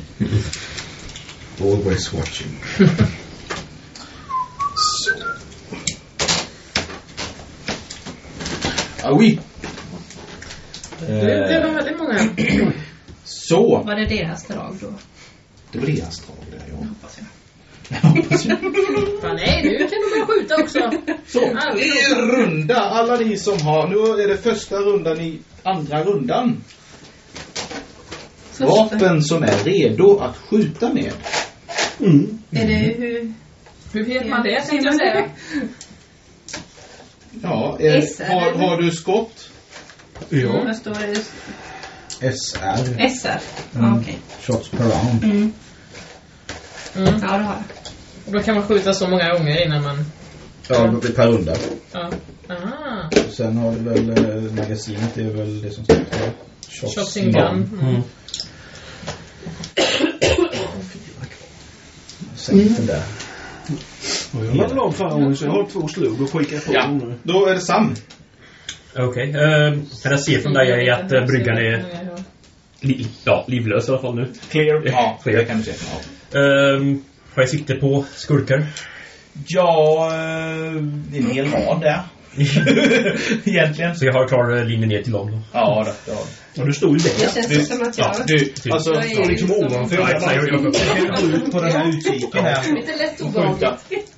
Always watching.
Ah, oui.
Nu blev de
Eh,
väldigt många.
så.
Var det deras drag då?
Det var deras drag där, ja.
Fan, nej, nu kan de börja skjuta också.
Så, det är runda. Alla ni som har... Nu är det första rundan i andra rundan. Vapen som är redo att skjuta med.
Är det hur...
Hur vet man det, tänkte jag säga.
Ja, eh,
S, eller?
har, har du skott?
Mm.
Ja. Vad står det?
SR.
SR?
Mm.
Ja, okej.
Shots per round.
Mm.
Mm.
Ja, det har jag.
Och Då kan man skjuta så många gånger innan man...
Ja, det är per runda.
Ja. Ah, Aha.
Och Sen har du väl eh, magasinet, det är väl det som står kvar.
Shots in gun. Mm.
Sänk den där.
Och jag laddade av förra gången så jag har två slug och skickar på
Ja.
dem nu.
Då är det Sam.
Okej. ehm, Kan jag se från där jag är att eh, bryggan är li ja, livlös i alla fall nu?
Clear. Ja,
Clear.
det kan du säga. Ja,
Ehm, Har jag sikte på skurkar?
ja eh, det är en hel rad där. Egentligen.
Så jag har klar eh, linje ner till dem då.
Ja, det, ja.
Ja, du står ju där.
Det känns som att jag...
Du, alltså,
Jag är liksom
ovanför. Kan du gå ut på den här utkiken här?
Lite lätt
och Skjuta.
obehagligt.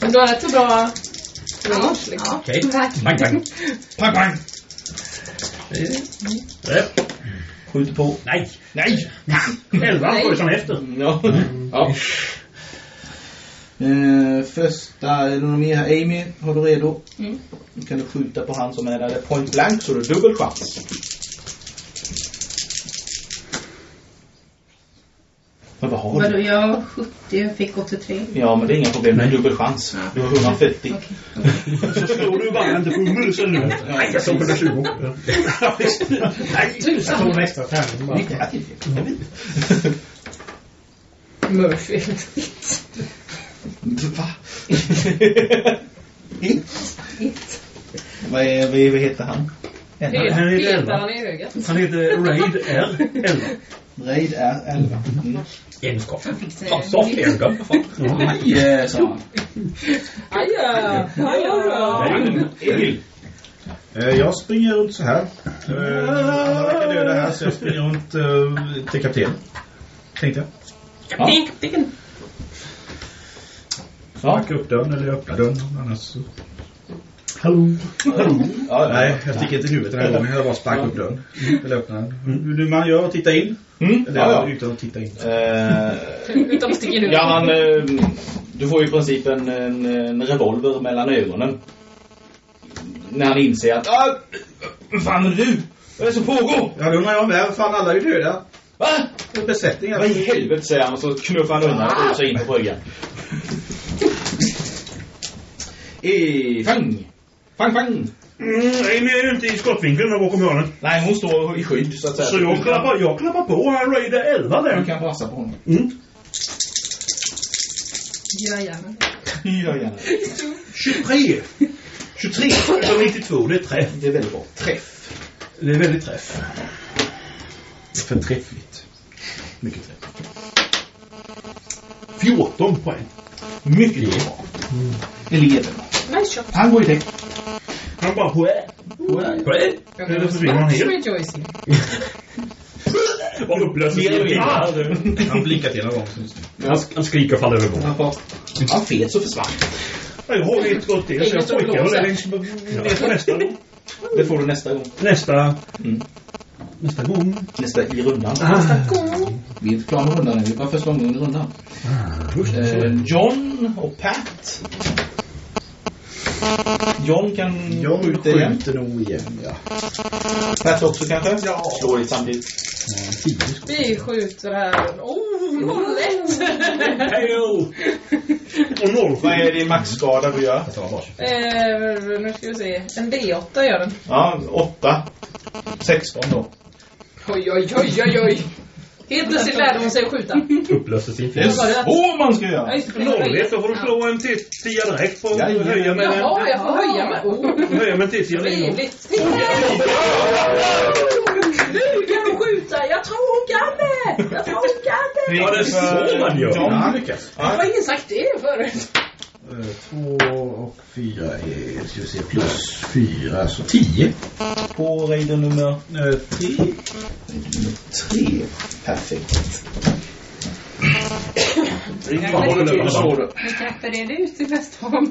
Men du har rätt så bra...
Ja,
Liksom.
Okej. Bang, bang.
Pang, pang!
Eh,
Skjuter på.
Nej!
Nej!
Elvan sköt han efter.
Ja. ja. Mm. Eh, första, är det någon mer här? Amy, har du redo?
Mm.
Nu kan du skjuta på han som är där. Det är point blank så du har dubbel chans. Men vad har
Vadå,
du?
jag var 70 och fick 83.
Ja, men det är inga problem. Du har dubbel chans. Du har 140.
Okej.
Så står du bara inte på musen nu.
Nej, jag såg på det 20 gånger.
Jag tog nästa tärning bara.
Lycka till.
Murphy.
Va? Hit. Vad, är, vad, är, vad heter han?
Petar
han är lite elva.
han i ögat.
Han heter Raid R. Elva.
Raid är 11. Mm.
Egenskap.
Fick, eh,
Fan, soft egenskap. för fan.
Aj, sa han.
Aja! Aja!
Emil.
Eh, Jag springer runt så här. Eh, Han verkar döda här så jag springer runt eh, till kaptenen. Tänkte jag.
Pink, pink.
Ja.
Backa upp dörren eller öppna dörren. Annars så...
Hallå.
Ja,
Nej, jag sticker inte huvudet den här gången. Jag bara sparkar upp dörren. Eller öppnar den.
Mm,
Hur hur man gör och titta in.
Mm,
Eller
ja, ja.
utan att titta in.
Eh,
Utan att sticka i huvudet.
ja, han, eh, du får ju i princip en, en, en revolver mellan ögonen. när han inser att ah, Vad fan är det du? Vad är det som pågår?
Ja, det undrar jag med. Fan, alla är ju döda.
Va?
Besättningen.
Vad i helvete säger han och så knuffar han undan och rusar in på bryggan. I fang! Fang, fang!
Amy Mm, är ute i skottvinkeln där bakom hörnet.
Nej, hon står i skydd så att säga.
Så jag klappar, jag klappar på här Raider 11
Du
där.
kan passa på honom.
Mm.
Gör gärna det.
Gör gärna det.
23. 23 utav 92, det är träff.
Det är väldigt bra. Träff.
Det är väldigt träff.
Förträffligt. Mycket träff.
14 poäng.
Mycket bra. Eleven.
Nice shot.
Han går i täck.
Han bara poäng.
Poäng.
Eller försvinner han helt?
Rejoicing.
Vad upplösning.
Ja,
Han blinkar till någon gång.
Han, sk- han skriker och faller över bordet.
Han bara- Han fet så försvann.
Jag har ju ett gott del så jag pojkar väl det längs ner på nästa då.
Det får du nästa gång.
Nästa...
Mm.
Nästa gång.
Nästa i rundan.
Cool.
Vi är inte klara med rundan än. Vi bara första omgången i rundan. Eh, John och Pat. John kan
Jag
skjuta igen.
skjuter nog igen, ja.
Pat också kanske? Ja. Slår i samtidigt.
Vi skjuter här. Oh, noll ett.
Och noll.
Vad är det maxskada du gör?
Jag tar bara 25.
eh, nu ska vi se. En D8 gör den.
Ja, 8. 16 då.
Oj, oj, oj, oj, oj. Helt plötsligt lärde hon sig att skjuta.
Upplöser sin
Det är
Vad var det?
så man ska göra!
Ja, just det.
Noll ett, då får du slå en till tia direkt på
Ja, ja.
höja med en...
Jaha, jag får höja mig. Oh,
Höja med en till tia lingon.
trevligt. Titta! Nu kan hon skjuta! Jag tror hon kan det! Jag tror hon kan det!
Ja, det är så man gör.
Ja,
John.
han lyckas.
Varför har ingen sagt det förut?
Eh, Två och fyra är, ska vi se, plus fyra, så tio.
På raiden nummer
Eh, Tre.
3. Perfekt.
Slår du.
Vi kanske reder ut det nästa gång. [laughs]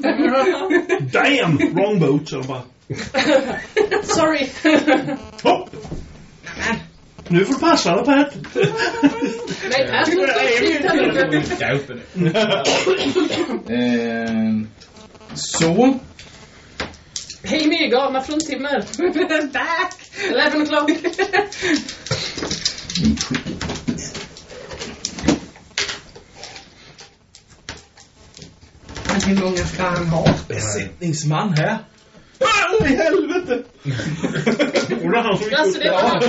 Damn! Wrong boat, så de bara.
Sorry. [laughs]
Hopp! Nu får du passa dig Pat.
Nej, alltså, här står det skit
Jag är uppe nu.
Ehm, så.
Hej med galna
[laughs]
fruntimmer. Back! 11 o'clock.
Men hur många ska han ha?
Besättningsman här. Åh, i helvete!
Och då han som gick
Alltså
upp.
det var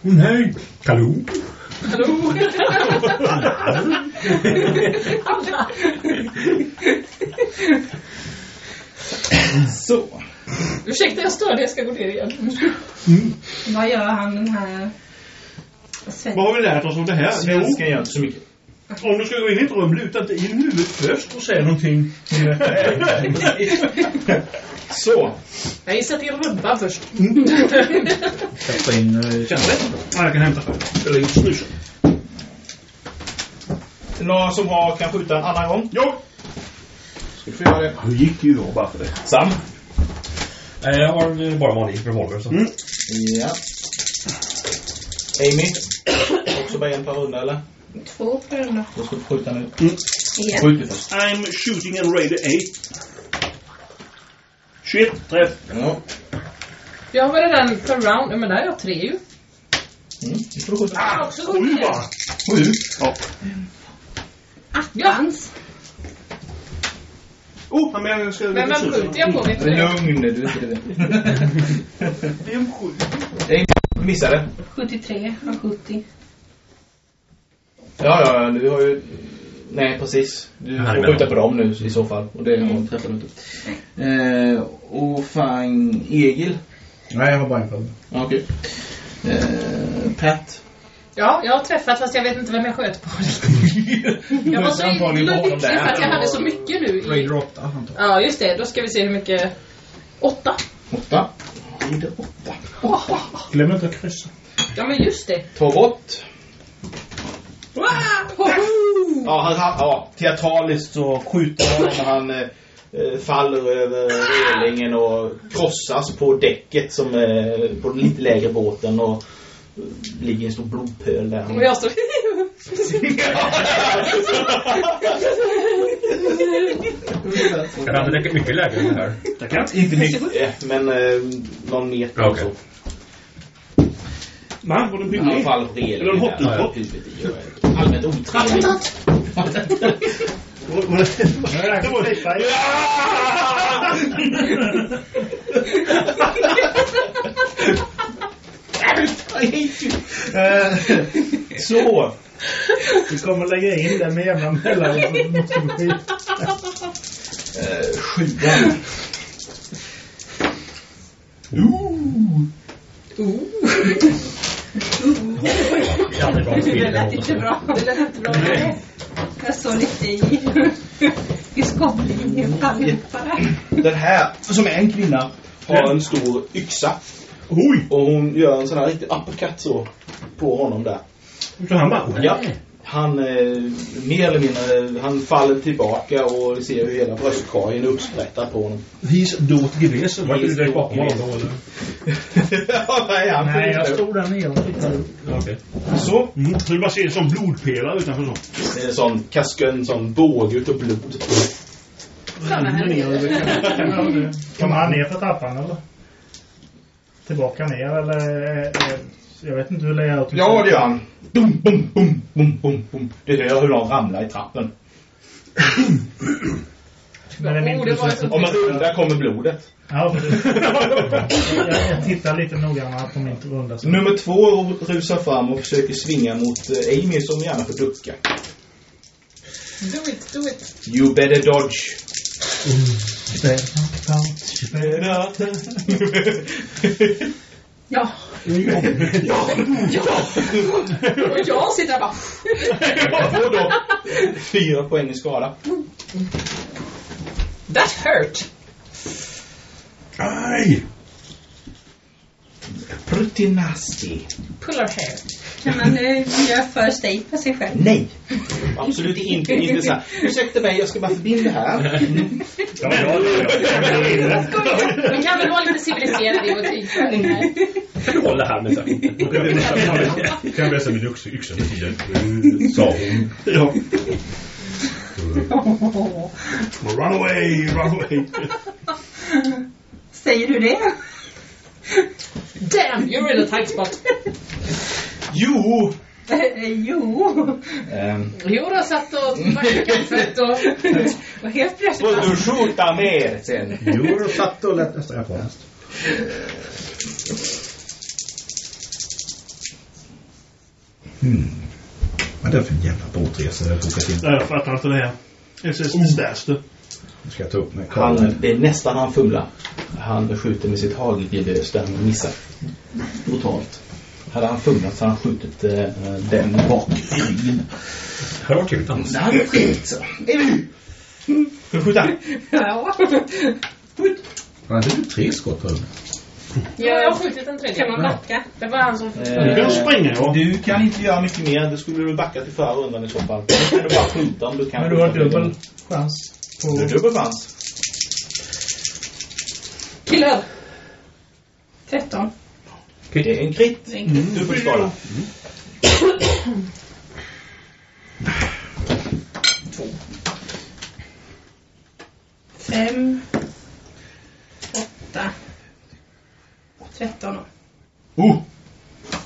Nej!
Hallå?
Hallå! Alla!
Så.
Ursäkta, jag störde. Jag ska gå ner igen.
Vad gör han den här... Sven-
Vad har vi lärt oss av det här? Jo,
Svenskan gör inte så mycket.
om du ska gå in i ett rum, luta inte in huvudet först och säg någonting.
Så.
Jag gissar till rumpa
[laughs]
först.
Kasta in eh,
Ja, jag kan hämta. Eller just nu.
Några som har kan skjuta en annan gång?
Ja!
Ska du få göra det?
Hur gick ju då bara för det?
Sam?
Nej, jag har eh, bara vanlig revolver. Så.
Mm.
Ja. Amy? Också bara en per runda eller?
Två på den då.
Då ska du skjuta nu.
Igen.
Skjut du först.
I'm shooting and raider 8. 21 träff.
Ja.
Jag var redan per round. Ja, men där har jag tre ju.
Mm. Nu får du skjuta.
Jag
Ah,
har också gått
Sju
ner.
bara.
Sju.
Attans!
Oh, ja, men jag ska...
Men vem skjuter jag på? Vet du det?
Lugn du, är inte det.
Vem skjuter?
Amy, du missade.
73 av 70.
Ja, ja, ja, du har ju... Nej, precis. Du
Ja,
får
men-
skjuta på dem nu i så fall. Och det mm. träffar du inte. Eh, och fan, Egil.
Nej, jag har bara en kvar.
Ja, Okej. Eh, Pat.
Ja, jag har träffat fast jag vet inte vem jag sköt på. Jag var så
Antagligen
himla
bakom
lycklig
där.
för att jag hade så mycket nu. i-
Raider 8, antar jag.
Ja, just det. Då ska vi se hur mycket... Åtta.
Åtta. Raider åtta.
Glöm inte att kryssa.
Ja, men just det.
Ta bort.
Wow!
Ja, han, han, ja, teatraliskt så skjuter han när han eh, eh, faller över relingen och krossas på däcket som eh, på den lite lägre båten och ligger en stor blodpöl där.
Och jag står... [laughs]
Kan det hade räckt mycket lägre än det här?
Det kan inte mycket, men eh, någon meter
Okej.
och så.
Man, var den
I alla
billig?
fall rejäl.
Eller en hotdog?
typ Allmänt otrevlig.
Det var Eh, Så! Vi kommer lägga in den med jämna mellanrum. Måste vi skita.
Sjuan.
Det är aldrig bra spel.
Det lät inte bra. Det lät inte bra. Jag står lite i... I skottlinjen. Jag kan hjälpa dig.
Den här, som är en kvinna, har en stor yxa.
Oj!
Och hon gör en sån här riktig uppercut så på honom där.
Så han bara...
Ja. Han eh, mer eller mindre, han faller tillbaka och vi ser hur hela bröstkorgen är uppsprättad på honom.
He's dot geves.
Var inte du direkt bakom honom då? eller?
[laughs] Ja, nej, han
Nej, jag
får
stod där nere och tittade.
Ja, Okej.
Så. Mm. Så du bara ser det som blodpelare utanför
[laughs]
så.
Det är en sån kaskön, sån båge utav blod.
Såna här grejer.
Kommer han ner för trappan eller? Tillbaka ner eller? eh, eh, Jag vet inte hur layouten
Ja, det gör han. Dum, bum, bum, bum, bum, bum. Det hör hur de ramlar i trappen.
Men det är min
Oh, det var
tur.
så
Om man rundar kommer blodet.
Ja, precis. jag, jag tittar lite noggrannare på min runda. så-
Nummer två ro- rusar fram och försöker svinga mot eh, Amy som gärna får ducka.
Do it, do it.
You better dodge.
[laughs]
[laughs]
Ja. ja. Och jag sitter där bara...
Jag får då fyra poäng i skada.
That hurt.
Aj!
Pretty nasty.
Pull her hair.
Kan man nu göra first aid på sig själv?
Nej. Absolut inte. inte så här. Ursäkta mig, jag ska bara förbi det här.
Ja, men jag- jag- jag-
Man kan väl vara lite civiliserad i vår krigföring här.
Jag håller här med sig.
Kan jag vässa min yxa yxa med tiden? Sa hon.
Mm. Ja. Run away, run away.
Säger du det?
Damn, you're in a tight spot.
Jo!
Eh, jo.
Ehm,
Jo, jag satt och backade kaffet och...
Och helt plötsligt...
Får du skjuta mer sen?
Jo, då satt och lät nästan japanskt. Hmm. Vad är det för en jävla båtresa jag bokat in?
Jag fattar inte det här. Jag ser staster.
Nu ska jag ta upp mig.
Han, det är nästan han fumlar. Han skjuter med sitt hagelgevös där han missar. Brutalt. Hade han fumlat så hade han skjutit eh, den bak i ryggen.
Här har till dans.
Det hade varit skit så. Emil! Ska du skjuta?
Ja.
Han hade ju tre skott på huvudet.
Ja, jag har skjutit en tredje.
Kan man backa?
Det var han som...
Du
Eh,
kan springa, ja.
Du kan inte göra mycket mer. Du skulle väl backa till förra rundan i så fall. Då kan du bara skjuta om du kan.
Men du har dubbel chans.
Du har
På...
dubbel chans.
Killar!
13.
Det är en krit. Dubbelskada.
Fem, åtta, tretton.
Oh!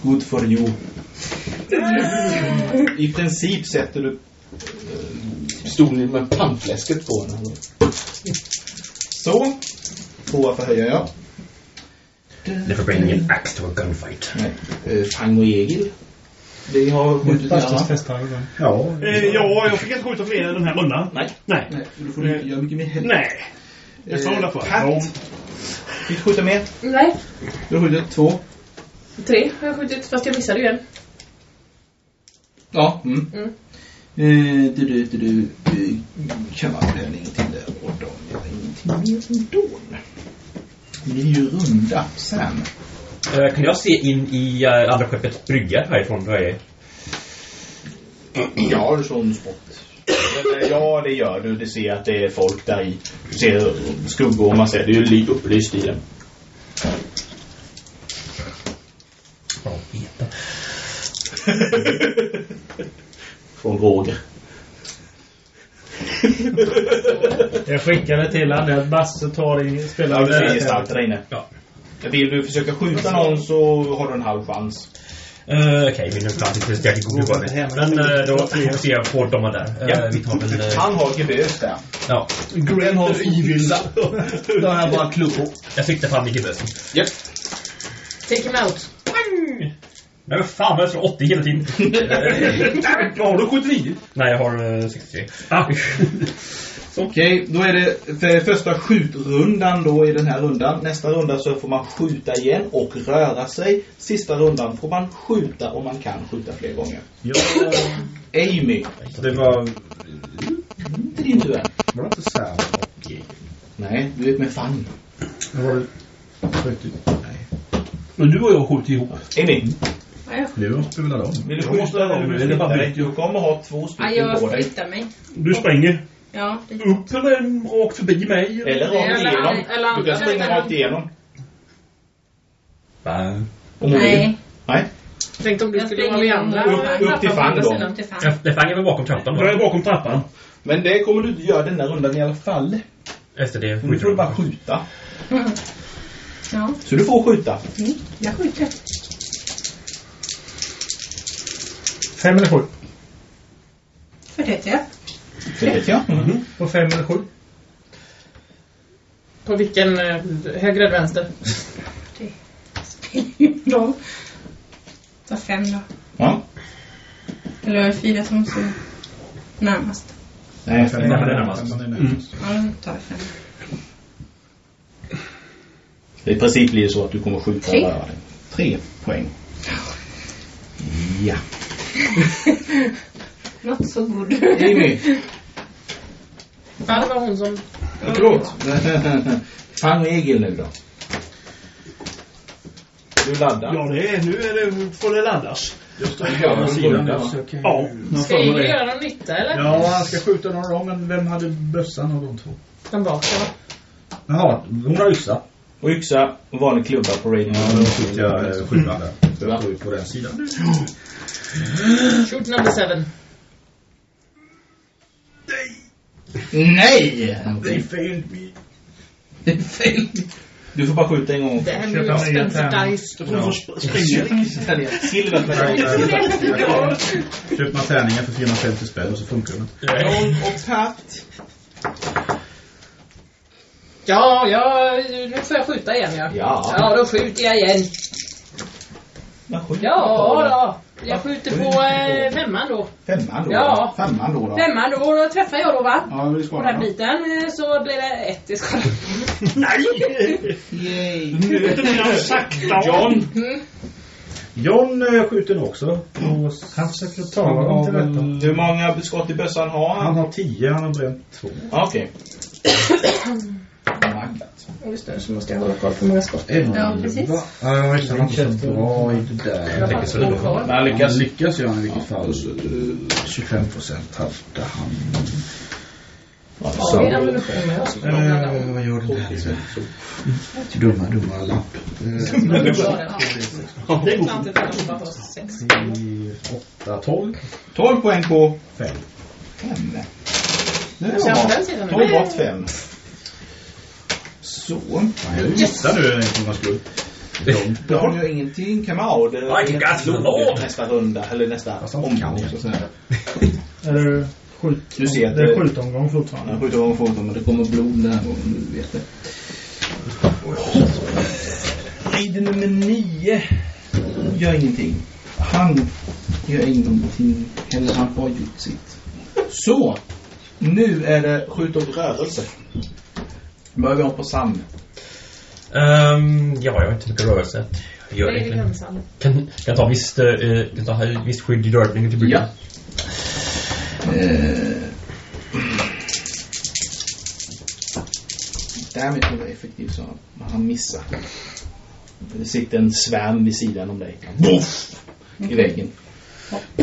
Good for you. I princip sätter du eh, stolen med pannfläsket på henne. Så. Tvåa förhöjer jag.
Never bring an axe to a gunfight.
Nej. Eh, Pang och Egil. Vi har skjutit
Fast
varandra.
testar jag den.
Ja.
Eh, ja, jag fick inte skjuta fler den här rundan.
Nej.
Nej.
Nej, du får inte göra mycket mer heller.
Nej. Jag sa det för.
Eh, Pat. Fick du skjuta med?
Nej,
Du har skjutit två.
tre har jag skjutit. Fast jag missade ju en.
Ja. Mm.
Mm.
Eh, du, du, du, du, eh, kavallen, ingenting där och de gör ingenting mer ändå. Ni är ju runda sen.
Eh, Kan jag se in i eh, andra skeppets brygga härifrån? Där jag är?
Ja, det är sån spott. Men, eh, Ja, det gör du. Du ser att det är folk där i. Du ser skuggor, man ser. Det är ju li- upplyst i den. [laughs]
Ja, veta.
Från Roger.
Jag skickade till han att Basse tar in
Ja,
spelar
du ser gestalter där inne.
Ja.
Vill du försöka skjuta någon så har du en halv chans.
Eh, Okej, vi nu klart inte Jack god var det. Men eh, då fokuserar jag på dem där.
Ja.
Eh, Vi tar väl... eh,
Han har gebös där.
Ja.
Gren har evil.
Då har jag bara klubbor.
Jag siktar fram i gebösen.
Japp.
Take him out.
Pang! Nej men fan vad jag slår 80 hela
[laughs]
tiden.
Har du 79?
Nej jag har eh, 63. Ah.
Okej, då är det för första skjutrundan då i den här rundan. Nästa runda så får man skjuta igen och röra sig. Sista rundan får man skjuta om man kan skjuta fler gånger.
Ja,
Amy,
det var...
det är din tur.
Var det inte Sam?
Nej, du är med fan.
Det var det...
Men du och jag skjuter ihop.
Amy,
Nu spelar de.
vill du
Jag måste
skjuta eller
ha-
vill
det
du
är bara
flytta dig?
mitt
Du kommer ha två
Ja,
stycken på
jag
dig.
flyttar mig.
Du springer
Ja, det
upp eller en rakt förbi mig.
Eller rakt
Eller-
igenom.
eller-
Du kan springa
eller-
rakt igenom.
Va?
Om du vill.
Nej.
Nej.
Tänk om du
Jag
skulle vara med
springer
andra.
upp- upp till
Pappa på
fan
andra
då.
sidan.
till fan.
Jag- Det fanger väl bakom trappan
Jag är
då?
bakom trappan.
Men det kommer du inte göra den där rundan i alla fall.
Efter det
Nu
skjuter
får
de.
du bara skjuta.
Ja,
Så du får skjuta.
mm, jag skjuter.
Fem eller sju?
För det [laughs] är jag.
Det vet jag.
Mm.
På fem eller sju?
På vilken eh, höger eller vänster?
Då. Ta fem då.
Ja.
Eller var det fyra som stod närmast?
Nej, fem.
Nej, men det är närmast.
Ja, då tar jag fem.
I princip blir det så att du kommer skjuta
Tre.
och röra dig. Tre poäng. Ja.
[laughs] Not so good.
Amy. [laughs]
Ja, det var hon som...
Förlåt. Fang Egil nu då. Du laddar.
Ja, det är, nu är det, får det laddas.
Jag står
på andra sidan där, va?
Ja, jag
Ska
får
ju
det.
göra någon nytta eller?
Mm.
Ja, han ska skjuta några av dem, men vem hade bössan av de två?
Den bakre va?
Jaha, hon har yxa.
Och yxa och vanlig klubba på radio.
Ja, då fick jag eh, skyddande. Så jag tog ju på den sidan.
Shoot number seven.
Nej!
They failed me.
Du får bara skjuta en gång.
Damn
Köpa
you
nya
expensive
tärn.
dice.
Du får sp- springa.
Silver med
Nej,
dig.
jag- Köper man tärningar för 450 spänn och så funkar det.
Noll och tatt.
Ja, ja, nu får jag skjuta igen ja.
Ja.
Ja, då skjuter jag igen.
Men skjut på den.
Ja, då. Jag skjuter på eh, femman då.
Femman då.
Ja.
Femman då. då.
Femman då, då träffar jag då va?
Ja, vi
På den biten eh, så blir det ett i skada.
Yay.
Nöten är sakta.
John.
Mm.
John eh, skjuter nog också. Och
Han försöker ta av...
Mm. Hur många skott i bössan har han?
Mm. Han har 10, han har bränt 2.
Ja,
[coughs]
Okej. Nackat.
Just det, så måste jag hålla koll på hur många skott.
Ja, precis.
Ja, just det. Han var så bra i det
Jag
där.
har två kvar.
Men han lyckas.
Han lyckas ju han i vilket fall. Eh, 25 procent hade han.
Har vi ammunition med oss?
Eh, vad gör den här? Dumma, dumma lapp. Eh,
Det är sant, det är bara på sex.
8, 12.
12 poäng på
Fem.
5. Nu
Jag ser på den sidan.
12 bort 5. Så.
Fan, jag gissade nu inte om man skulle.
Då har ni ju ingenting. Kamau. Det
I got the Lord.
nästa runda. Eller nästa
Fast han kan
omgång.
ju.
så att säga.
Eller skjut...
Du ser att
det
det-
är skjutomgång fortfarande.
Han skjuter gång för gång, men det kommer blod den här gången. Du vet det. Raider nummer 9 gör ingenting. Han gör ingenting heller. Han har gjort sitt. Så! Nu är det skjut och rörelse. Börjar vi om på Sam.
Ehm, ja, jag har inte så mycket rörelse. Jag gör
Det är
egentligen.
gränsande.
Kan, kan jag ta visst, eh, kan jag ta här, visst skydd i rörelsen till bryggan?
Eh. Därmed tror jag effektiv så han missar. Det sitter en svärm vid sidan om dig. Boff! I väggen. ja, det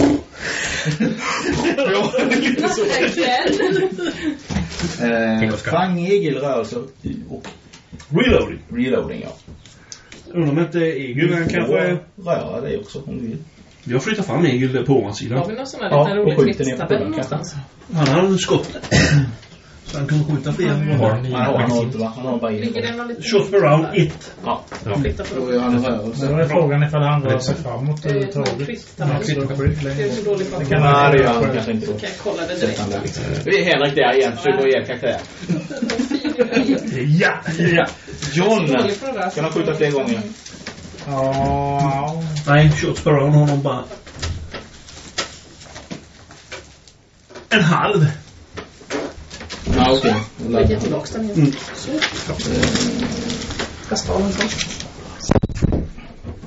är lite så. Eh, Fang Egil rörelse och
Reloading.
reloading ja.
Undrar om inte Egil han kanske...
Och röra dig också om du vill.
Jag flyttar fram Egil på ovansidan.
Har vi någon sån här liten rolig flyttstabell någonstans?
Han har skott. [clears throat] Så han kan skjuta fler än vad han
Han har, han har,
har.
inte, va? han har bara in.
Ligger det någon liten...
Shot for round it.
Ja,
Ja.
Flytta på
då gör han en rörelse.
Sen var ju frågan ifall han rör sig framåt
Det är en
överhuvudtaget.
flyttstabell. Det är så dålig koll.
kan
Kan
man-
Nej, det gör han kanske inte.
jag kolla det direkt?
Vi är Henrik där igen, försöker vara jävla karaktär.
Ja! ja.
John!
Dålig på det där.
Kan han skjuta fler gånger?
Ja,
Nej, shots på round honom bara. En halv.
Ja, okej.
Lägga tillbaka den igen. Så. Kasta av den först.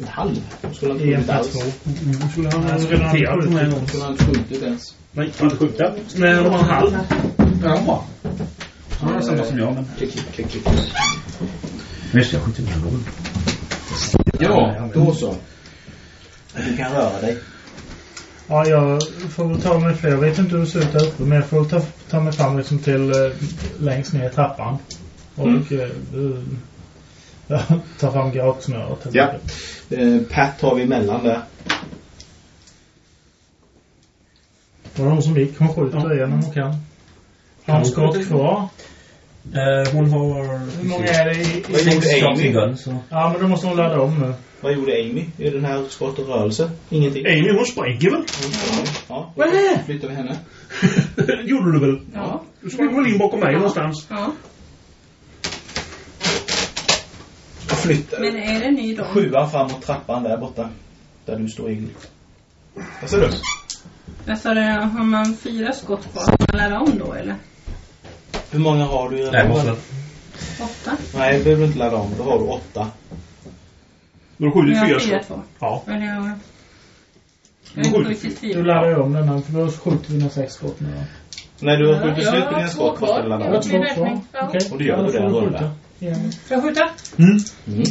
En halv? Då Skulle han
en
inte
plats
alls?
två.
Då
Mm,
Skulle han ha
Repeterat den här gången.
Skulle han inte skjutit ens?
Nej, inte skjuta. Nej, det var en halv.
Ja, han är samma som jag. Men...
Klick, klick, klick, klick.
Just det, jag skjuter ner honom.
Ja, då så. Du kan röra dig.
Ja, jag får väl ta mig för jag vet inte hur det ser ut där uppe, men jag får väl ta, ta mig fram liksom till eh, längst ner i trappan. Och
Mm.
eh, eh, [laughs] ja, ta fram gratsnöret. helt
Ja.
enkelt.
Eh, Pat har vi emellan där.
Det var hon som gick. Hon skjuter igen om hon kan. Har hon skott kvar?
Eh, hon har...
Hur många är det i...
Vad
i
gjorde Amy?
Gun, så...
ja, men då måste hon ladda om nu.
Vad gjorde Amy i den här skott och rörelse? Ingenting.
Amy, hon springer väl?
Ja,
Vad är det?
flyttar vi henne.
[laughs] gjorde du väl?
Ja.
Du sprang väl in bakom mig någonstans?
Ja.
Flyttar.
Men är det ny då?
Sjua framåt trappan där borta. Där du står Egil. Där ser du.
Jag sa det, har man fyra skott kvar, kan man ladda om då eller?
Hur många har du i
Nej, måste...
Åtta?
Nej, det behöver du inte ladda om. Då har du åtta.
Du har
Men
skjutit
jag har
fyra
fyra
skott.
kvar.
Ja.
Eller jag... Jag har
Sjukt.
skjutit
Du
fyra.
laddar jag om den här, för då skjuter vi med sex skott nu. va?
Nej, du har
Ja,
skjutit
jag
slut på
har
dina
två
skott.
kvar.
kostar det ladda
Jag
om.
Jag har
har
två kvar.
två räkning. Ja.
Okej.
Och det gör du
Ja, då
där,
får vi
rullar.
skjuta. Ja.
Får jag skjuta?
Mm.
Mm.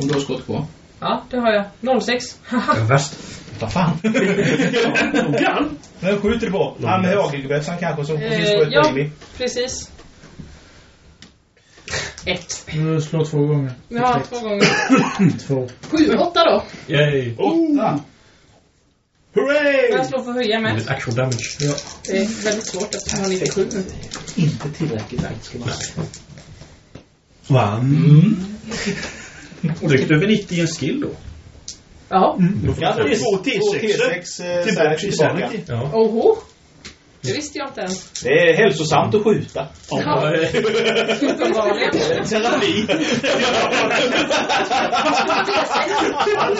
Om du har skott kvar.
Ja, det har jag. 06. Haha.
Värst.
Vad [laughs] fan?
Noggrann.
Men skjuter du på? Han med hagelbössan kanske som precis
Eh,
sköt på
ja.
Amy.
Precis. Ett.
Du slår två gånger.
Ja, två gånger.
Två.
Sju, åtta då.
Yay.
Åtta!
Men
Hurray!
jag slår för höja
Det är
Mm.
med.
ett actual damage.
Det är väldigt svårt eftersom han inte skjuter.
Inte tillräckligt aktivt ska man säga.
Vann.
Mm.
Och det är över 90 i en skill då.
Ja.
Mm.
Ja, det är
Två T6.
eh,
Tillbaks i
T6
Sonic.
Ja.
Oho. Det visste jag inte ens.
Det är hälsosamt att skjuta.
Ja,
[laughs]
uppenbarligen.
[laughs] Terapi.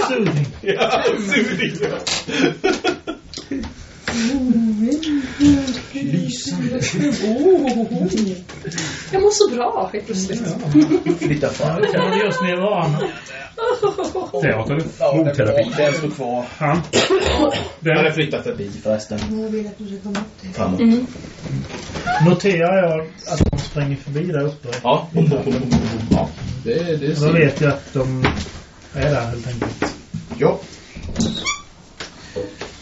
Sugning.
Ja, [laughs] sugning.
Jag mår så bra helt plötsligt.
Flytta fram.
Kan man just ner vanan?
Teater. Blodterapi.
Den står kvar.
Han.
Den hade
Den.
flyttat förbi förresten. Mm.
Jag vill att du ska komma upp till.
Framåt.
Noterar jag att de springer förbi där uppe.
Ja. ja. Det, det
Då vet jag att de är där helt enkelt.
Ja.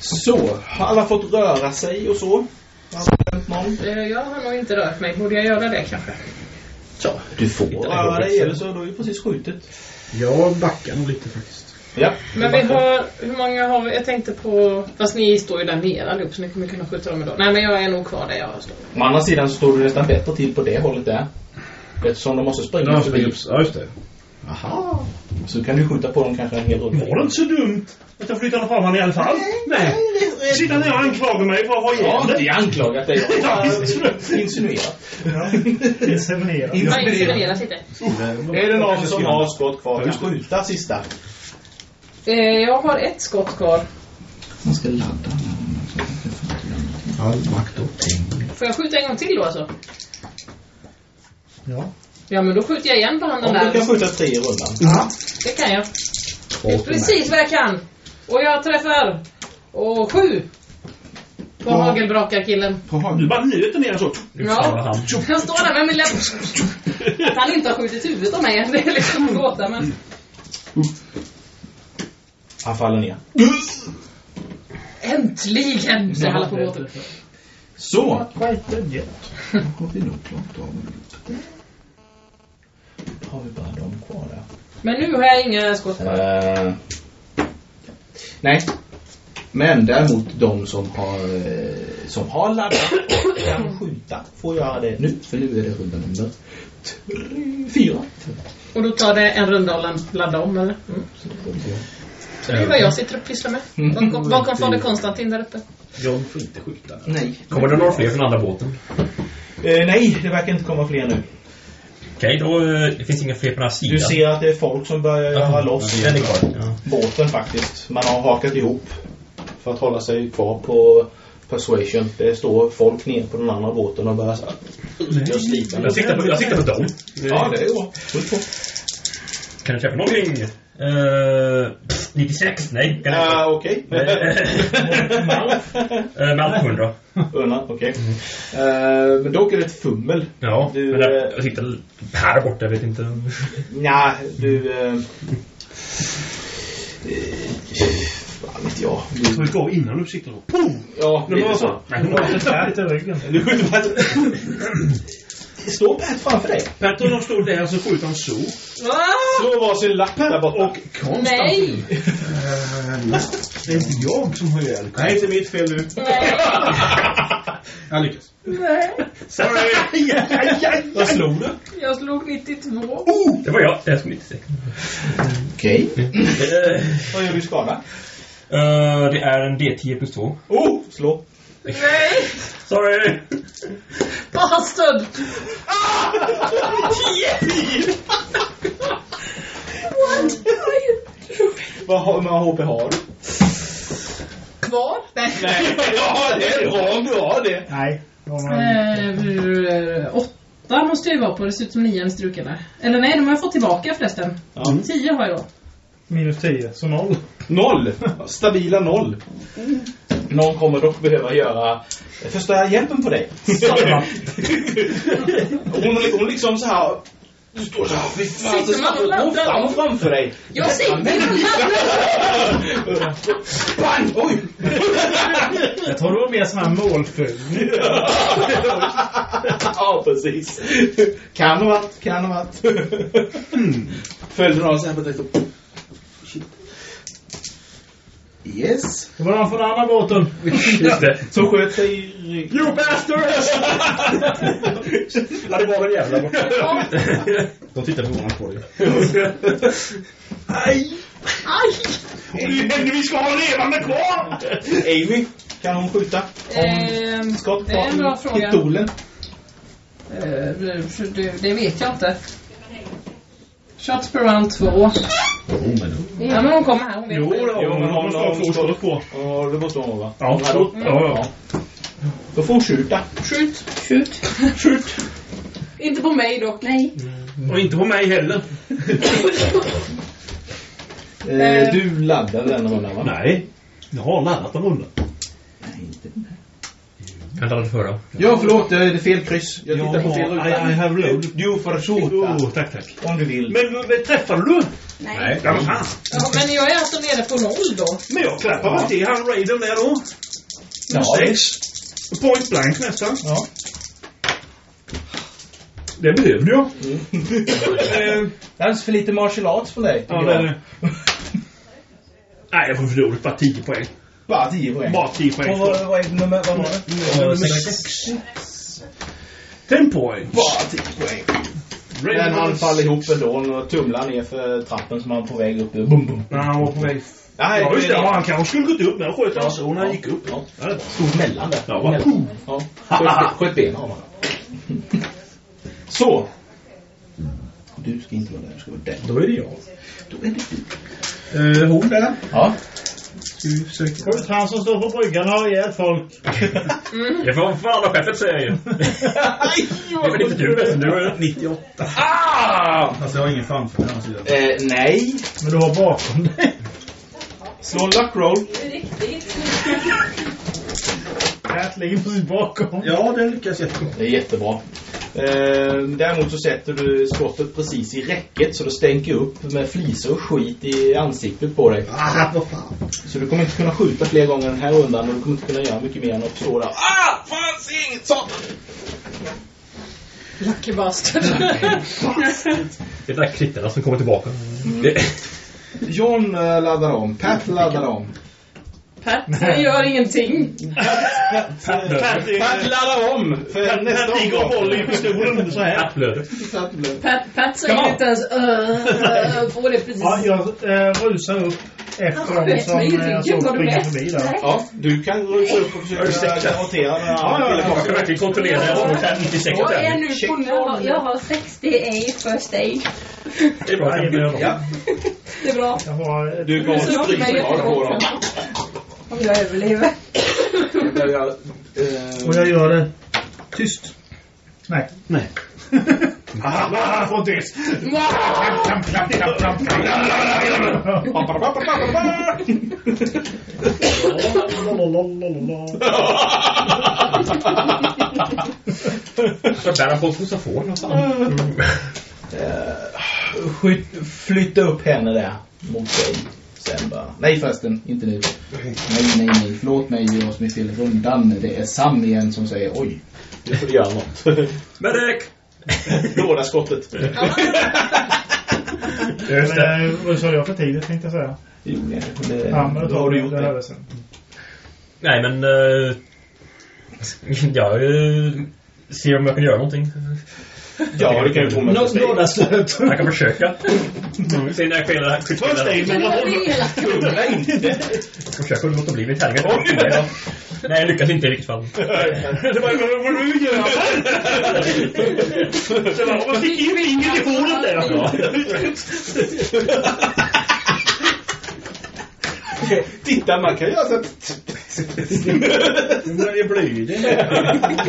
Så, har alla fått röra sig och så? Har det hänt någon?
Eh, Jag har nog inte rört mig. Borde jag göra det kanske?
Ja, du får röra dig eller så, du har ju precis skjutit.
Jag backar nog lite faktiskt.
Ja.
Men vi har... Hur många har vi? Jag tänkte på... Fast ni står ju där nere allihop så ni kommer kunna skjuta dem idag. Nej men jag är nog kvar där jag står.
Å andra sidan så står du nästan bättre till på det hållet där. Eftersom de måste springa
Ja,
förbi.
just det.
Aha. Så kan du skjuta på dem kanske en hel runda.
Var det inte så dumt att jag flyttade fram honom i alla fall? Nej. Sitter ni och anklagar mig för att ha
Jag
ihjäl
har
dig?
inte anklagat dig. Jag
Ja,
har
visst.
bara insinuerat.
Inseminerar.
Jag insemineras lite.
Eh, Är det någon som har skott kvar? Kan skjuta sista.
Eh, Jag har ett skott kvar.
Man ska ladda.
All makt och pengar.
Får jag skjuta en gång till då alltså?
Ja.
Ja men då skjuter jag igen på handen
Om du
där.
kan skjuta tre i rundan.
Det kan jag. Det är precis vad jag kan. Och jag träffar. Och sju. På hagelbrakarkillen.
Du bara nöt ner så.
Ja.
han.
Jag står där med min läpp. Att han inte har skjutit huvudet av mig, det är liksom en gåta. Men
Han faller ner.
äntligen så alla på båten.
Så. Har vi bara dem kvar där?
Men nu har jag inga skott kvar.
Eh, nej.
Men däremot de som har, eh, som har laddat och kan skjuta får göra det nu. För nu är det runda nummer tre- fyra.
Och då tar det en runda och lan- ladda om, eller? Mm. Så det är vad jag sitter och pysslar med. Bakom, bakom fader Konstantin där uppe.
John får inte skjuta.
Nej.
Kommer det några fler från andra båten?
Eh, nej, det verkar inte komma fler nu.
Okej, då eh, det finns inga fler på den här sidan.
Du ser eh, att det är folk som börjar göra loss
Den är kvar. Ja.
båten faktiskt. Man har hakat ihop för att hålla sig kvar på persuasion. Det står folk ner på den andra båten och börjar så här, och slita.
Jag siktar på, jag siktar på dem.
Ja, det är bra. Skjut på.
Kan du träffa någonting? Uh, 96? Nej. Kan Eh, jag
Ja, Ah, okej.
uh, Malp 100.
Unna, okej. Eh, Men dock är det ett fummel.
Ja,
Du,
men där,
eh,
jag siktar här borta, jag vet inte.
Nja, du... Eh, eh, vad vet jag. Du,
Tryck av innan du siktar upp.
ja,
Men
lite
vad
så.
så?
Lite i ryggen.
Du skjuter på ett... Står Pat framför dig?
Patton de står där så skjuter han så.
Ah!
Slå varsin lapp där borta.
Och konstant.
Nej!
Det är inte jag som har ihjäl
Nej, inte mitt fel nu. Jag lyckas.
Nej!
[laughs]
Sorry! Vad slog du?
Jag slog 92.
Oh! Det var jag. Jag skulle inte säga.
Okej.
Eh,
Vad gör du i skada?
eh, det är en D10 plus 2.
Oh! Slå.
Nej!
Sorry!
Bastard!
Vad har, men vad HP har du?
Kvar? Nej.
Nej, ja, det är bra om du har det.
Nej. det var man-
Eh, åtta måste jag ju vara på. Det ser ut som nian är struken där. Eller nej, de har jag fått tillbaka förresten.
Mm.
Tio har jag då.
Minus 10, så noll.
Noll. Stabila noll. Någon kommer dock behöva göra första hjälpen på dig. hon, hon liksom så här... Du står så här, fy fan, så
Sitter man och
snabbt går
laddar?
fram framför dig.
Jag sitter
Bang! Oj!
Jag tror det var mer sån här målföljd.
ja, precis. Kan ha varit, kan ha varit. Följde någon så här på tänkte... Shit. Yes.
Det var någon från andra båten.
[laughs] Just det.
Som sköt sig i ryggen.
You bastards! ja, det var väl jävla borta.
De tittar förvånat på dig.
Vi ska ha levande kvar!
Eh,
Amy, kan hon skjuta?
Ehm,
Skott
Det är en bra
på
fråga.
pistolen.
Eh, det, det vet jag inte. Shots per round två. Ja, men hon kommer här. Hon vet
Jo,
det.
det
Jo,
har
men
man.
har
Man ska
någon
ha två
skott.
skott på.
Ja, det måste hon va?
Ja,
då.
ja, ja.
Då får hon skjuta.
Skjut. Skjut.
Skjut!
Inte på mig dock. Nej.
Och inte på mig heller.
Eh, du laddade den rundan va?
Nej. Jag har laddat en runda.
Jag laddade förra.
Ja, förlåt. Det är fel kryss. Jag tittar på fel
Jag har- I, I
ruta.
have load.
Du får skjuta
Oh, tack, tack.
om du vill.
Men, men träffade du?
Nej.
Ja, men fan.
Ja, men jag är alltså nere på noll då.
Men jag klappar väl till han Raiden där då.
Ja.
Sex. Point blank nästan.
Ja.
Det behövde jag. Eh,
Det är alldeles för lite martial arts från dig. tycker
ja,
jag.
men, nej, jag får för dåligt. Bara 10 poäng.
Bara 10 poäng.
Bara 10
Och
poäng.
vad, vad, är det nummer, vad var det?
Eh, sex.
10 poäng.
Bara 10 poäng. Men han faller ihop ändå och tumlar ner för trappen som han är på väg upp ur. Bum, bum.
Nej, han var på väg.
Nej,
Ja, just det.
är-
Ja, han kanske skulle gått upp, men jag sköt hans son när han gick upp.
Ja.
Ja, det var bra.
Stod mellan där.
Ja, va?
Mellan. Ja. Sköt- Sköt ben har man. Så. Du ska inte vara där, du ska vara där.
Då är det jag.
Då är det du.
Eh, hon där.
Ja.
Ska vi försöka?
Skjut han som står på bryggan och har
[laughs]
ihjäl folk.
Det får fan vad chefen säger. Det är väl inte du förresten? Du är
98.
Ah!
Alltså, jag har ingen framför den här sidan.
[laughs] Eh, nej.
Men du har bakom dig.
Slå luck roll.
Riktigt.
Pat ligger precis bakom.
Ja, den lyckas jättebra.
Det är jättebra. Eh, däremot så sätter du skottet precis i räcket så det stänker upp med flisor och skit i ansiktet på dig.
Ah, vad fan.
Så du kommer inte kunna skjuta fler gånger den här rundan och du kommer inte kunna göra mycket mer än att stå där. Ah! Fan, se inget sånt!
Lucky bastard.
det där krittarna som Mm. kommer tillbaka. Det,
John eh, laddar om. Pat laddar om.
Pat, det gör ingenting.
Pat laddar om!
Pat ligger och håller i pistolen så här.
Applöder.
Pat, Pat säger inte
[laughs]
ens öh, på det precis.
Ja, jag eh, rusar upp
Han
Alltså,
sköt
efter dem som
mig i
eh,
ryggen,
jag såg
var du
springa
med?
förbi där.
Ja, du kan rusa upp och försöka garantera den
Ja, ja,
här
jag ska
killen.
verkligen kontrollera. Jag har 96
Jag är
tärning.
nu på noll. Jag har 60 i first aid.
Det är bra. kan vi göra.
Ja,
Det är bra.
Jag har... eh,
du kommer
Så
att
låter mig
stryka på dem.
jättebra. Om jag överlever.
Och jag gör det... Tyst. Nej.
Nej.
[laughs] Han får tyst.
Jag bär på xylofon någonstans.
Skjut, flytta upp henne där mot dig. Sen bara, nej förresten, inte nu. Nej, nej, nej, förlåt mig, det är jag som är fel i rundan. Det är Sam igen som säger oj. Nu får du göra något. [laughs]
Medic!
Låda skottet.
Just det.
Men, eh, Rusade jag för tidigt tänkte jag säga.
Jo, det- det-
Ja, men då
då har
tar
du
vi
gjort
det här
det.
sen.
Nej, men... eh, jag eh, ser om jag kan göra någonting.
Ja, det kan ju få mig att
Några slöt.
Jag kan försöka. Se när jag spelar
Först
skjutspelar.
dig, men vad håller
Det är elakt.
Jag ska försöka låta bli mitt helvete. Nej, jag lyckas inte i vilket fall.
det? Vad vad du gör här? Man fick ju fingret i hålet där. alltså.
Ja.
Titta, man kan göra så att...
Nu blir jag blyg.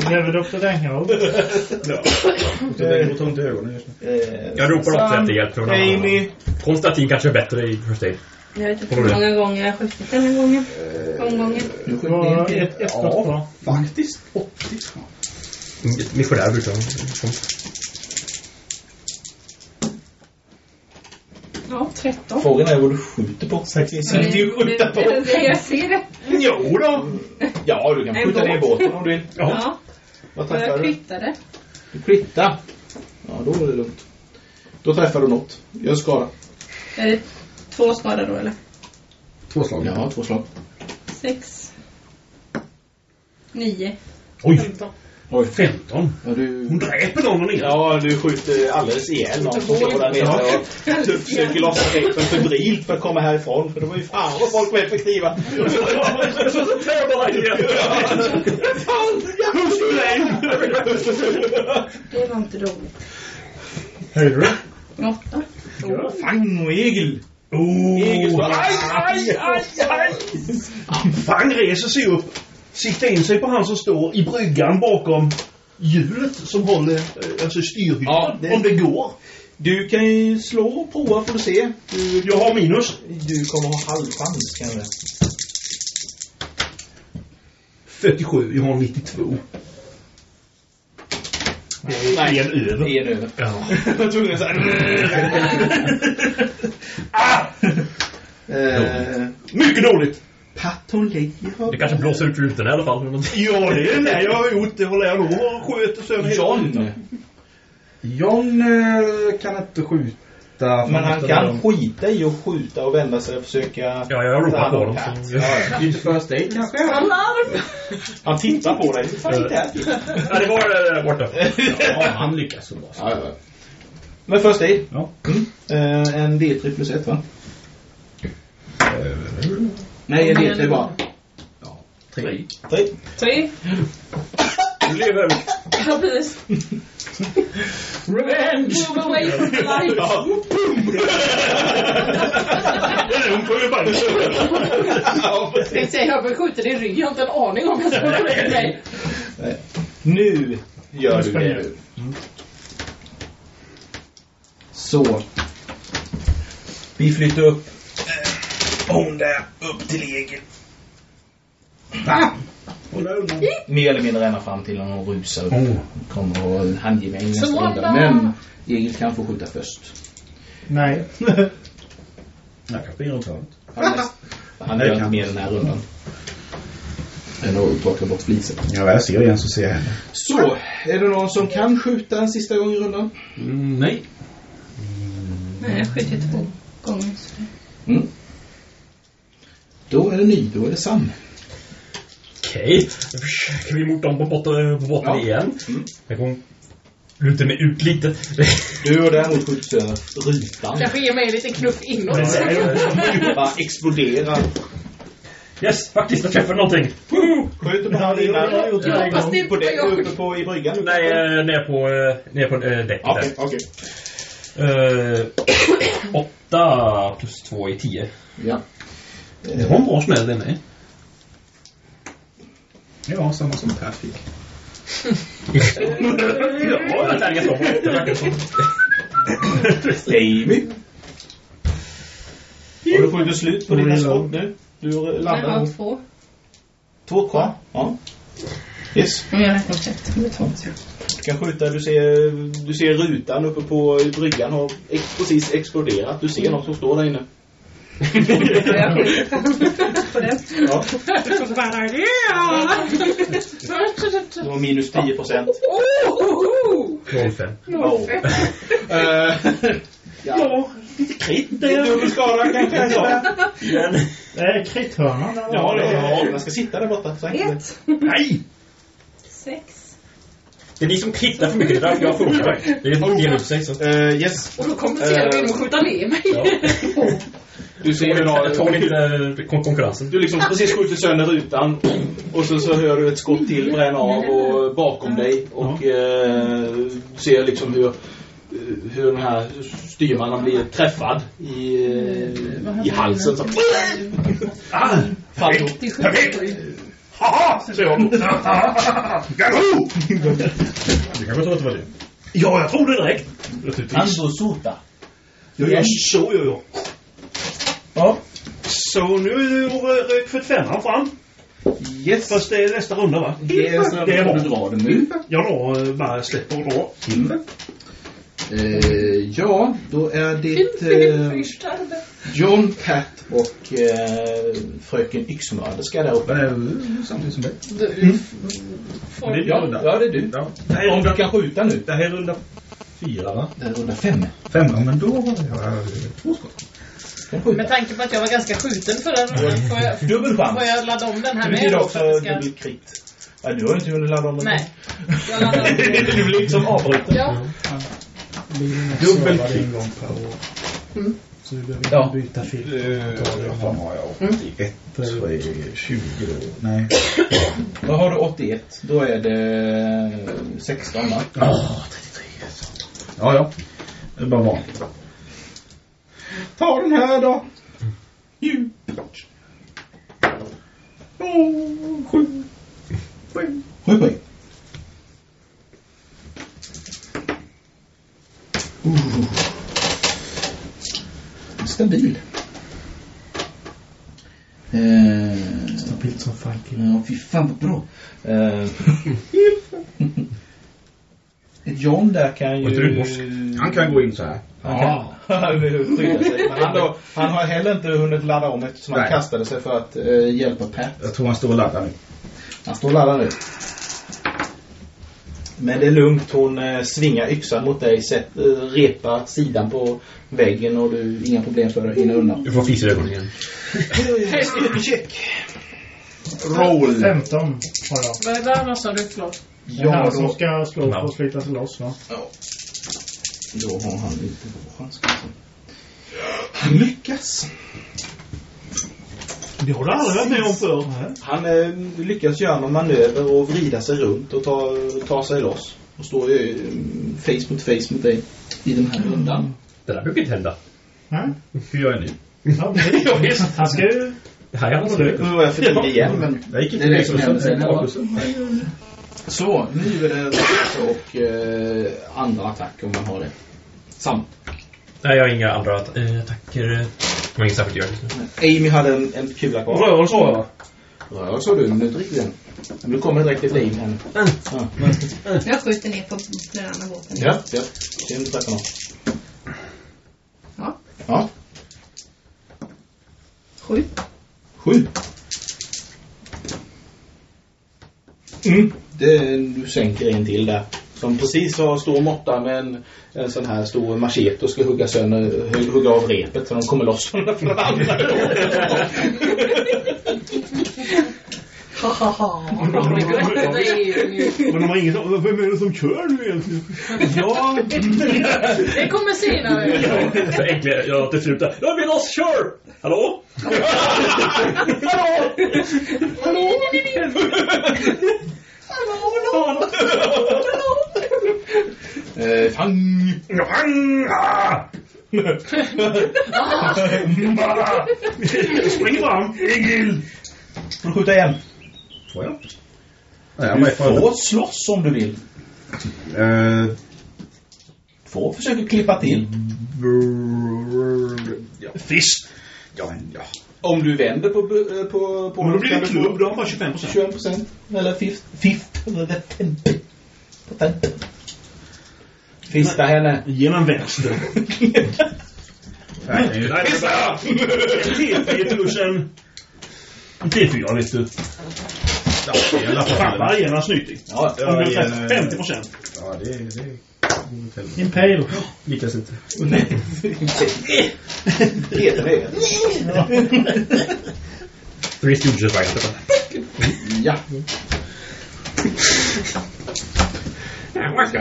Behöver doktor Reinhold?
Jag tar ont i ögonen just nu.
Eh,
Jag ropar också efter hjälp från någon annan.
Amy.
Konstantin kanske är bättre i first aid.
Jag vet inte
Kommer du?
hur många gånger jag har skjutit den här gången.
Eh,
Omgången.
Du
Det
skjuter
var
ner
ett,
det.
ett skott
Ja,
kvar.
faktiskt. 80.
Missionär brukar de.
Ja, 13.
Frågan är vad du skjuter på. Kan inte du skjuta på?
Nej, jag ser det.
Jo då. Ja, du kan
En
skjuta ner
båt.
båten om du vill.
Ja,
Vad
och
träffar
jag
du?
kvittade.
Du kvittar. Ja, då är det lugnt. Då träffar du något. Gör skada.
Är det två skador då eller?
Två slag.
Ja, två slag.
Sex. Nio.
Oj!
Oj.
15.
Ja, du...
Hon dräper någon och ner.
Ja, du skjuter alldeles ihjäl någon som står där nere och du försöker lossa greppen febrilt för att komma härifrån. För det var ju fan vad folk var [laughs] effektiva.
Det var inte roligt.
Höjde du?
Åtta.
Fang och egel. Oh. Aj, aj, aj, aj. Fang reser sig upp. Siktar in sig på han som står i bryggan bakom hjulet som håller eh, alltså styrhjulet.
Ja, det-
Om det går.
Du kan ju slå och prova får du se. Du,
Jag har minus.
du kommer ha halvchans kan jag
47, jag har 92. Det är
Nej.
en över.
En
[laughs]
över.
Ja.
Jag var tvungen att säga...
Ah!
Eh,
Mycket dåligt!
Patton ligger
Det kanske blåser ut rutan i alla fall. eller någonting.
Ja, det är det jag har gjort. Det håller jag nog och sköter sönder hela tiden.
John.
John eh, kan inte skjuta.
Men han kan skita i att skjuta och vända sig och försöka...
Ja, jag ropar på dem.
Pat.
så-
Ja, ja.
Inte first aid kanske?
Han tittar på dig. Fan, inte här.
Ja, det var eh, borta.
Ja, han lyckas så bra.
Ja, ja, ja. Men först i.
Ja.
Mm. Eh, en D3 plus 1 va? Nej, en D3 bara.
Tre.
Tre.
Tre.
Du lever.
Ja, precis. Revenge! Move away from the light.
Ja. [laughs]
Hon får ju bara...
Ja, precis.
Jag säger, jag blir skjuten i ryggen. Jag har inte en aning om jag ska hålla med mig.
nu gör du det. Mm. Så. Vi flyttar upp. eh, Hon där, upp till egen. Mer eller mindre ända fram till hon rusar upp. Kommer och handgemäng nästa
Sådana.
runda. Men Egil kan få skjuta först.
[laughs] Nej.
Nej, kanske blir runt hörnet.
Han, är- han gör inte mer den här rundan. Än att torka bort flisen.
Ja, jag ser igen så ser jag henne.
Så, är det någon som kan skjuta en sista gång i rundan?
Mm, nej.
Nej, jag sköt ju två gånger. så det-
Mm.
Mm. Då är det ny, då är det Sam.
Okej, då försöker vi mot dem på botten, på botten igen. Jag kommer luta mig ut lite.
Du och däremot skjuts över rutan.
Kanske ge mig en liten knuff inåt.
Bara exploderar.
Yes, faktiskt, jag träffade någonting. Woo!
Skjuter på han innan.
Ja, fast det
På det
jag-
uppe på i bryggan.
Nej, eh, ner på, eh, ner på eh, däcket där.
Okej, okej.
Eh, åtta plus två är tio.
Ja. Eh,
Det var en bra smäll det med.
Ja, samma som
[laughs]
Per fick.
Ja, det verkar så. Det verkar så.
Amy. Har du skjutit slut på dina skott nu? Du
Jag har
landar
två.
två kvar. Ja. Yes.
Mm.
Men jag räknar käften med två.
Du kan skjuta, du ser, du ser rutan uppe på bryggan har ex, precis exploderat. Du ser något som står där inne.
Jag skjuter på den.
Ja,
Så bara, ja!
det var minus 10 procent.
Oh!
05.
Eh, ja, lite kritt. Dubbel skada kanske. Ja,
Igen.
Det är krithörnan. eller?
ja det är, man ska sitta där borta. Så enkelt.
Ett,
Nej!
sex.
Det är ni som klittar för mycket. Det är därför jag funkar. Det är det är ut sig. Så.
Eh, yes.
Och då kompenserar vi med att skjuta ner mig.
Du ser hur
Jag
någon-
tål inte eh, kon- konkurrensen.
Du liksom precis skjuter sönder rutan och så, så hör du ett skott till bränna av och bakom dig och eh, ser liksom hur, hur den här styrmannen blir träffad i, eh, i halsen. Så.
Ah,
Faller ihop.
haha, säger hon. Garou!
Du kanske tror att det var du?
Ja, jag tror det direkt.
Han står sota.
Ja, ja, så gör jag. Ja. Så nu
eh,
är rök 45 fram.
Yes.
Fast det är nästa runda va?
Det är så
Det är bra.
du drar den nu.
Jag då eh, bara släpper och drar.
Eh, ja, då är det eh,
John, Pat och eh, fröken Yxmörderska där uppe.
Eh, Samtidigt som dig.
Det
Ja,
gör
ja, det är du. Om du kan skjuta nu.
Det här är runda
Fyra, va?
Det är runda fem.
Fem, ja men då har jag eh, två skott.
Kan skjuta.
Med tanke på att jag var ganska skjuten förra rundan får jag,
Dubbel
får
chans.
jag ladda om den här
Det
med.
betyder
då för
också
att det ska-
dubbel krit. Ja, du har inte hunnit ladda om den. [laughs]
Nej. Jag laddar om den.
du blir liksom avbruten.
Ja,
Det blir ju nästan
Dubbel
bara en gång per år. Så vi behöver
Ja.
inte byta
Eh,
film.
Vad fan har jag?
Mm.
81, så är det 20 då. Nej.
Då har du 81. Då är det 16 va?
Åh, 33. Ja, ja. Det är bara vanligt. Ta den här då. Djupt. Åh, sju. Sju.
7 poäng.
stabil. Eh,
Stabilt som fan kille.
Mm,
Ja, fy fan vad bra.
[laughs]
Eh,
John där kan
Och
ju...
Drudmos.
Han kan Ah. gå in så här.
[laughs] Han kan skydda sig. Men han, då, han har heller inte hunnit ladda om eftersom han
Nej.
kastade sig för att eh, hjälpa Pat.
Jag tror han står och laddar nu.
Han står och laddar nu. Men det är lugnt. Hon eh, svingar yxan mot dig, sätt, eh, repar sidan på väggen och du inga problem för att hinna
[laughs]
undan.
Du får fis i ögonen igen.
Roll!
15 har jag.
vad vad annars har du? Förlåt.
Det är
Ja,
han som
då,
ska slå för
Ja.
att slita sig loss va?
då har han inte vår chans. kanske. Han lyckas.
Det har du aldrig varit med om förr.
Han eh, lyckas göra någon manöver och vrida sig runt och ta, ta sig loss. Och står ju eh, face mot face mot dig i den här [laughs] rundan.
Det där brukar inte hända.
Nej.
Hur gör jag nu?
Ja, det-
Ja, visst.
Han ska ju...
Det här är hans
Nu var jag för tidig igen, men
Jag gick
det
inte
är det som händer.
sen.
sen. Ja.
Bakusen.
Så, nu är det Rosa och eh, andra attack om man har det. Sam.
Nej, jag har inga andra att- eh, attacker. eh. Jag har inget särskilt att göra just nu.
Amy hade en, en kula kvar.
rörelse har jag.
Rör såg du, men inte riktigt än. Men du kommer direkt efter Amy här nu. Ja,
Jag skjuter ner på den andra båten.
ja. ja. Se om du träffar någon.
Ja.
Ja.
Sju.
Sju. Mm. Det, du sänker en till där. Som precis har stor måtta med en, en sån här stor machete och ska hugga, sönder, hu- hugga av repet så de kommer loss från den andra.
Men de har inget Vem är det som kör nu egentligen?
Ja.
Det kommer senare.
Så äcklig jag till slut. Jag vill oss kör! Hallå?
Hallå! Hallå! Hallå!
Eh, fang!
Fang! Ah! Ah! Spring fram, Egil!
Får du skjuta igen?
Får jag?
Du får slåss om du vill.
Uh,
Får försöka klippa till.
Fisk!
Ja, men ja.
Om du vänder på... bu- eh, på, på
Men då blir det
kan du få-
klubb, då har man bara 25
21 procent. Eller fifth. Fifth. Eller tenth. Potent. Fista henne.
Genom vänster.
Nej,
nej.
Fista!
T4 plus en... en T4 vet du.
i alla fall.
Fan vad arenan är snyggt.
Ja, ja, arenan-
50 procent.
Ja, det, det går åt helvete.
Impale.
Lyckas inte.
Heter det?
Three Stooges vagnar.
Ja.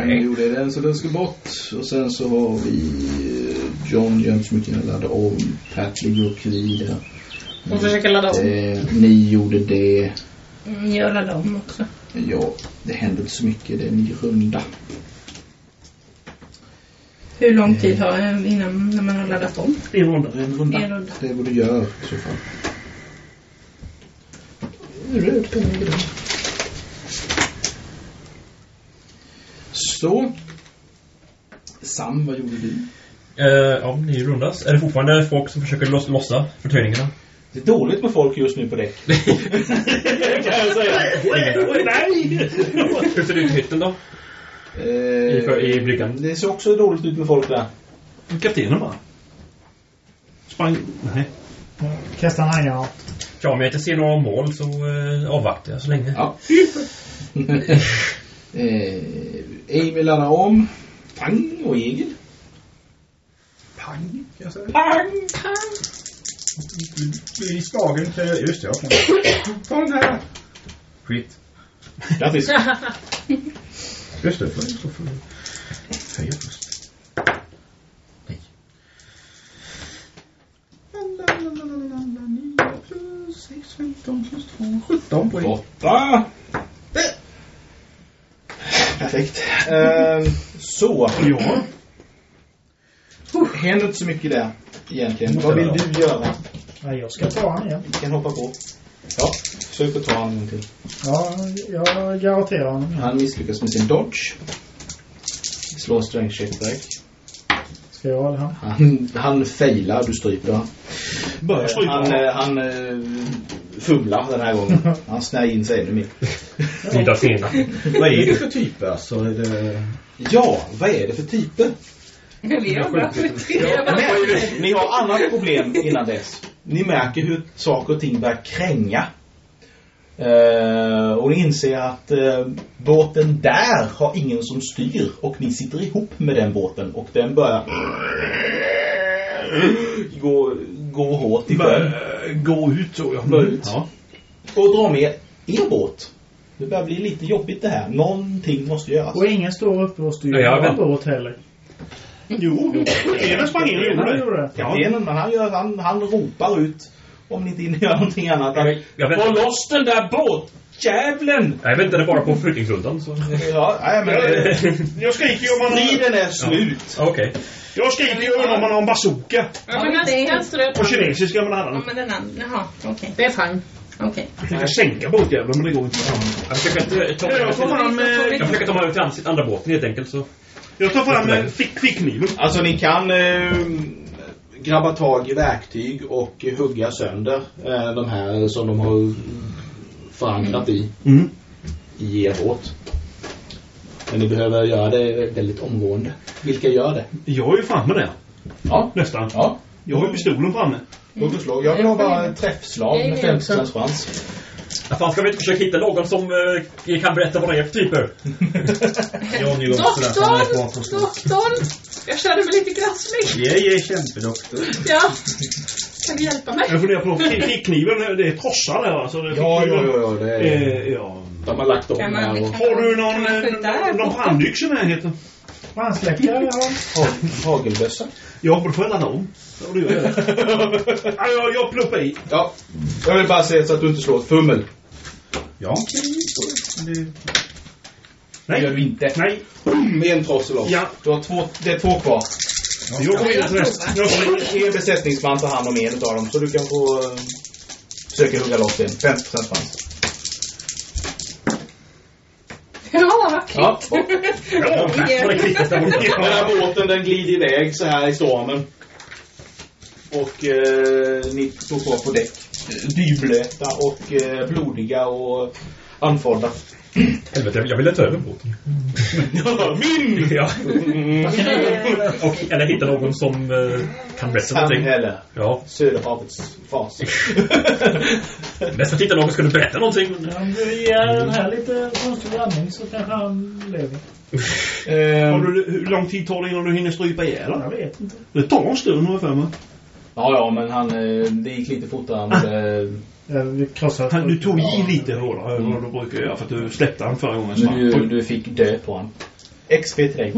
Nu gjorde jag den så den skulle bort. Och sen så har vi eh, John Jones som inte laddade om. Pat Legrok vidare.
Hon försöker ladda om.
Eh, ni gjorde det.
Mm, Jag laddar om också.
Ja, det hände inte så mycket. Det är en ny runda.
Hur lång tid har en innan när man har laddat om?
En runda.
En runda.
En runda.
Det är vad du gör i så fall. Röd penna i dag. Så. Sam, vad gjorde du?
Eh, ja, ny rundas. Är det fortfarande folk som försöker loss, lossa förtöjningarna?
Det är dåligt med folk just nu på däck.
kan jag säga. Nej!
Hur ser det ut i hytten då? I,
Eh,
i bryggan?
det ser också dåligt ut med folk där.
Kaptenen bara. Sprang... Nej.
Kasta en handgranat.
Ja, men jag inte ser några mål så eh, avvaktar jag så länge.
Ja. [laughs] eh, Emil laddar om. Pang och Egil.
Pang, kan jag säga.
Pang!
I slagen till... Just det, jag kan... Ta den här! Skit.
Grattis!
Just det, får jag slå för... Höja först. Nej. Lalalalalalala, nio plus sex, femton plus två, sjutton poäng.
Åtta! Perfekt. Eh, så.
Ja.
Det händer inte så mycket där egentligen. Vad vill du göra?
Nej, jag ska ta han igen.
Vi kan hoppa på. Ja, försök att ta honom en gång till.
Ja, jag garanterar honom.
Han misslyckas med sin dodge. Slå strength check direkt.
Ska jag ha det här?
Han, han failar, du stryper han.
Börja
Eh,
strypa
Han,
honom.
eh, han eh, fumlar den här gången. Han snär in sig ännu mer.
Vida sena.
Vad är det för typ alltså? Är det...
Ja, vad är det för typer?
Vi har bara
Men ni har annat problem innan dess. Ni märker hur saker och ting börjar kränga. Eh, och ni inser att eh, båten där har ingen som styr och ni sitter ihop med den båten och den börjar gå, gå hårt i sjön.
eh, Gå ut tror jag.
Börja ut. Och dra med er båt. Det börjar bli lite jobbigt det här. Någonting måste göras.
Och ingen står uppe och styr
Ja, jag
våra
vet.
båt heller.
Jo, jo. Kaptenen sprang in och gjorde
Jag
det.
gjorde det.
Kaptenen, men han, gör, han, han ropar ut om ni inte hinner göra någonting annat. Att,
Jag
Få
väntade,
loss den där båtjäveln!
jag väntade bara på flyttningsrundan. så-
Ja, nej, men eh,
Jag skriker ju om man har...
friden är slut.
Ja, Okej.
Jag skriker ju om man har en bazooka.
Ja, men den- den ströp
På
han.
kinesiska men
Ja,
han
men den andra. Jaha, okej.
Det är fang.
Okej.
försöker sänka båtjäveln men det går inte.
Jag försöker inte ta
Jag tar fram, eh,
Jag försöker ta mig över till ansikt- andra båten helt enkelt så.
jag tar fram eh, fick- fickkniven.
Alltså ni kan eh, grabba tag i verktyg och hugga sönder eh, de här som de har förankrat i,
Mm.
i er båt. Men ni behöver göra det väldigt omgående. Vilka gör det?
Jag är ju framme där.
Ja.
Nästan.
Ja.
Jag har ju pistolen framme.
Låt oss slå. Jag vill ha bara ett träffslag med 50 chans.
Fan, ska vi inte försöka hitta någon som eh, kan berätta vad det är för typer?
Johnny Johnson där som är kvar på
Doktorn! Doktorn! Jag känner mig lite grasslig.
Jag är kämpedoktor.
Ja. Kan du hjälpa mig?
Jag funderar på fick- fickkniven. Det är trossar där va? Så det är
Ja,
fickkniven.
ja, ja, ja, det är-
Eh, ja.
De har lagt om
Kan man-
här och...
kan-
Har du någon,
Kan man skjuta här
eh, någon
borta?
brandyxa i närheten?
Brandsläckare, ja.
Ha- Hagelbössa.
Ja, då får jag ladda om. Ja, det gör jag. Ja, jag, jag pluppar i.
Ja. Jag vill bara säga så att du inte slår ett fummel.
Ja.
Det gör
Nej,
du inte.
nej.
Boom, En trossel av.
Ja.
Du har två, det är två kvar.
Jag går vidare till nästa. Jag slänger.
Er besättningsman tar hand om en utav dem så du kan få eh, försöka hugga loss en. 50% chans.
Ja,
Ja. Och
Ja, vad det kvittar där borta.
Den här båten den glider iväg så här i stormen. Och eh, ni står kvar på däck. eh, Dyblöta och eh, blodiga och andfådda.
Helvete, jag vill- jag ville ta över båten.
Ja, [laughs] [laughs] min!
Ja. Och, eller hitta någon som eh, kan berätta någonting.
Samhälle.
Ja,
Söderhavets fas.
bäst att hitta någon som kunde berätta någonting. men, ja.
Om du ger den här lite konstig andning så kanske han lever.
Har
Ehm,
du, hur lång tid tar det innan du hinner strypa ihjäl
Jag
honom?
vet inte.
Det tar en stund har jag för mig.
Ja, ja, men han, eh, det gick lite fortare. än, eh,
Ja, vi krossar...
Han, du tog i lite hårdare än vad du brukar göra för att du släppte han förra gången.
Men du, du fick dö på honom. XP till dig.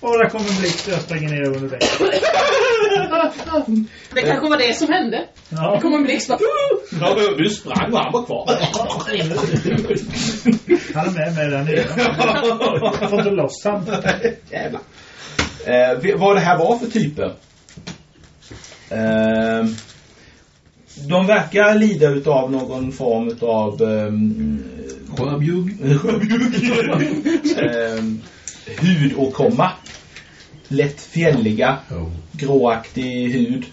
Åh, där kommer en blixt. Jag springer ner under däcket.
det kanske var det som hände. Det
Ja,
kom en blixt bara...
Ja, men du sprang och han var [laughs] kvar.
han är med mig där nere. Jag får inte loss han.
Jävlar. Eh, vi- vad det här var för typer? Eh, de verkar lida utav någon form utav... ehm, eh,
Sjöbjugg.
ehm, hudåkomma. Lätt fjälliga.
Oh.
gråaktig hud.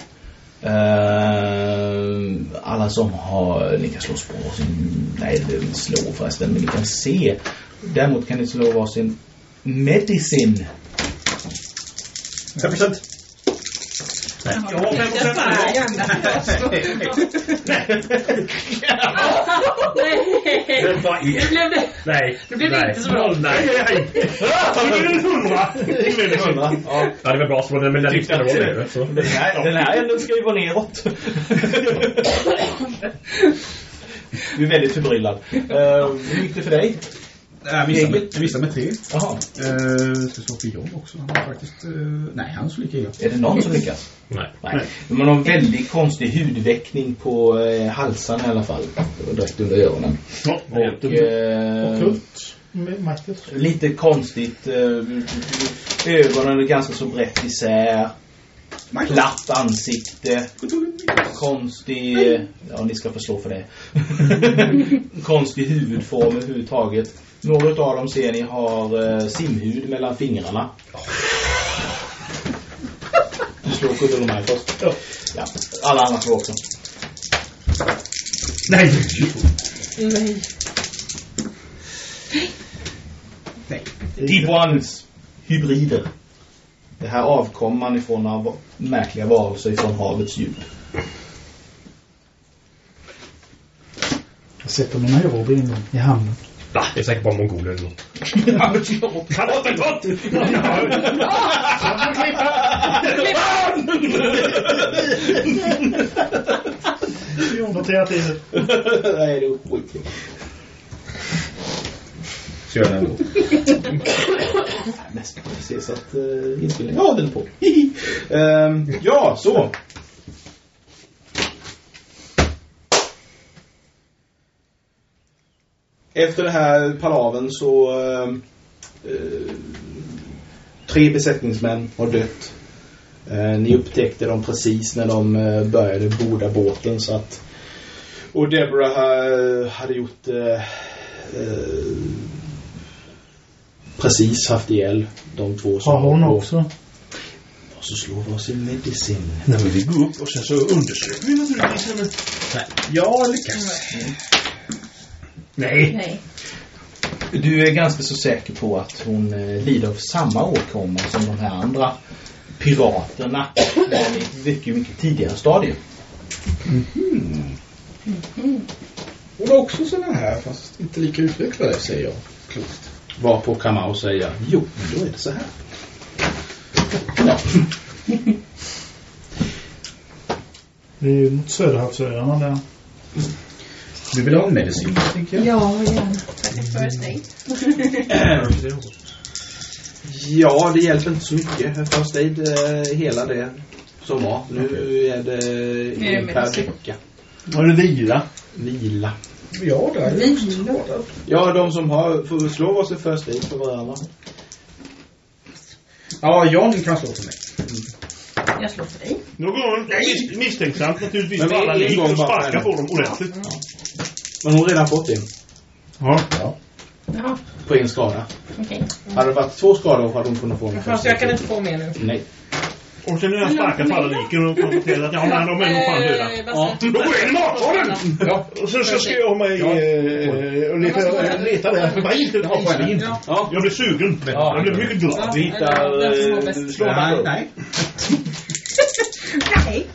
Ehm, alla som har, ni kan slå spår, sin- nej det- slå förresten, men ni kan se. Däremot kan ni slå varsin medicin.
5%.
Jag har fem procent här.
Nej!
Det var i-
Nu blev det...
Nej.
Nu blev det
nej.
inte så bra.
Noll, Nej.
Nu är det hundra. Nu är det hundra.
Ja.
Ja, det var bra så, men den lyssnade var det. Så.
Den här, den här änden ska ju vara neråt. Du är väldigt förbryllad. Ehm, Hur gick det för dig?
Jag missade med, jag missade med tre.
Jaha,
Uh, ska slå för jobb också. Han har faktiskt... eh, nej, han slog lika illa.
är det någon
Mm.
som lyckas?
Nej.
Nej. De har någon väldigt konstig hudväckning på eh, halsen i alla fall. Och Direkt under öronen.
Ja,
Och, eh,
Tufft. Maktigt.
Lite konstigt. eh, Ögonen är ganska så brett isär. Platt ansikte. Konstig... eh, Ja, ni ska förslå för det. [laughs] konstig huvudform överhuvudtaget. Några av dem ser ni har eh, simhud mellan fingrarna. Du slår kudden de här först. Ja. Alla andra slår också.
Nej!
Nej.
Deep Ones hybrider. Det här avkomman ifrån av märkliga varelser ifrån havets djup.
Jag sätter mina jobben i hamnen.
Va? Det är säkert bara mongoler eller något.
Kalottengott!
Jondaterat i det.
[laughs] Nej, det är otroligt.
Så gör den ändå.
Nästan precis att uh, inspelningen... Ja, den är på. [laughs] Hihi. Ehm, ja, så. Efter den här palaven så... ehm, eh, tre besättningsmän har dött. Eh, ni upptäckte dem precis när de eh, började borda båten så att... Och Deborah eh, hade gjort... Eh, eh, precis haft ihjäl de två som
Har hon
var på-
också?
Och så slår vi oss i medicin.
Nej, men vi går upp och sen så undersöker vi naturligtvis henne. Jag lyckas. Mm. Nej.
Nej.
Du är ganska så säker på att hon eh, lider av samma åkomma som de eh, här andra piraterna var i ett mycket, mycket tidigare stadium.
Mhm. Mm-hmm. Hon har också sådana här, fast inte lika utvecklade, säger jag. Klokt. Var på Kamau säger, jo, då är det så här. Ja.
Det är ju mot Söderhavsöarna där.
Du vill ha en medicin, tänker jag.
Ja, gärna. First aid.
Ja, det hjälper inte så mycket. First aid, eh, hela det som var. Nu är det
Nu är det
en per
medicin.
vecka.
Har du vila?
Vila.
Ja, där är det.
Vila.
Ja, de som har får väl slå varsin first aid för varandra.
Ja, John kan slå för mig.
Jag slår för dig.
Nu går hon mis misstänksamt naturligtvis
Men
på alla
en
lik
gång
och
bara
sparkar
en.
på dem ordentligt.
Men hon har redan fått en.
Ja.
Ja.
Jaha,
På en skada.
okej.
Hade det varit två skador hade hon kunnat få en
Jaha, så jag kan inte få mer nu.
Nej.
Och sen när jag sparkar på alla liken och konstaterar att ja, men de är nog fan döda.
Eh, vad säger-
Då är det matsalen!
Ja.
Och sen så ska jag ha mig
Ja.
eh, och leta, leta där. Vad inte ett vildsvin.
Ja.
Jag blir sugen. Jag blir mycket glad.
Du hittar...
Den som har
eh,
bäst.
du slår
Nej,
här.
nej.
Nej.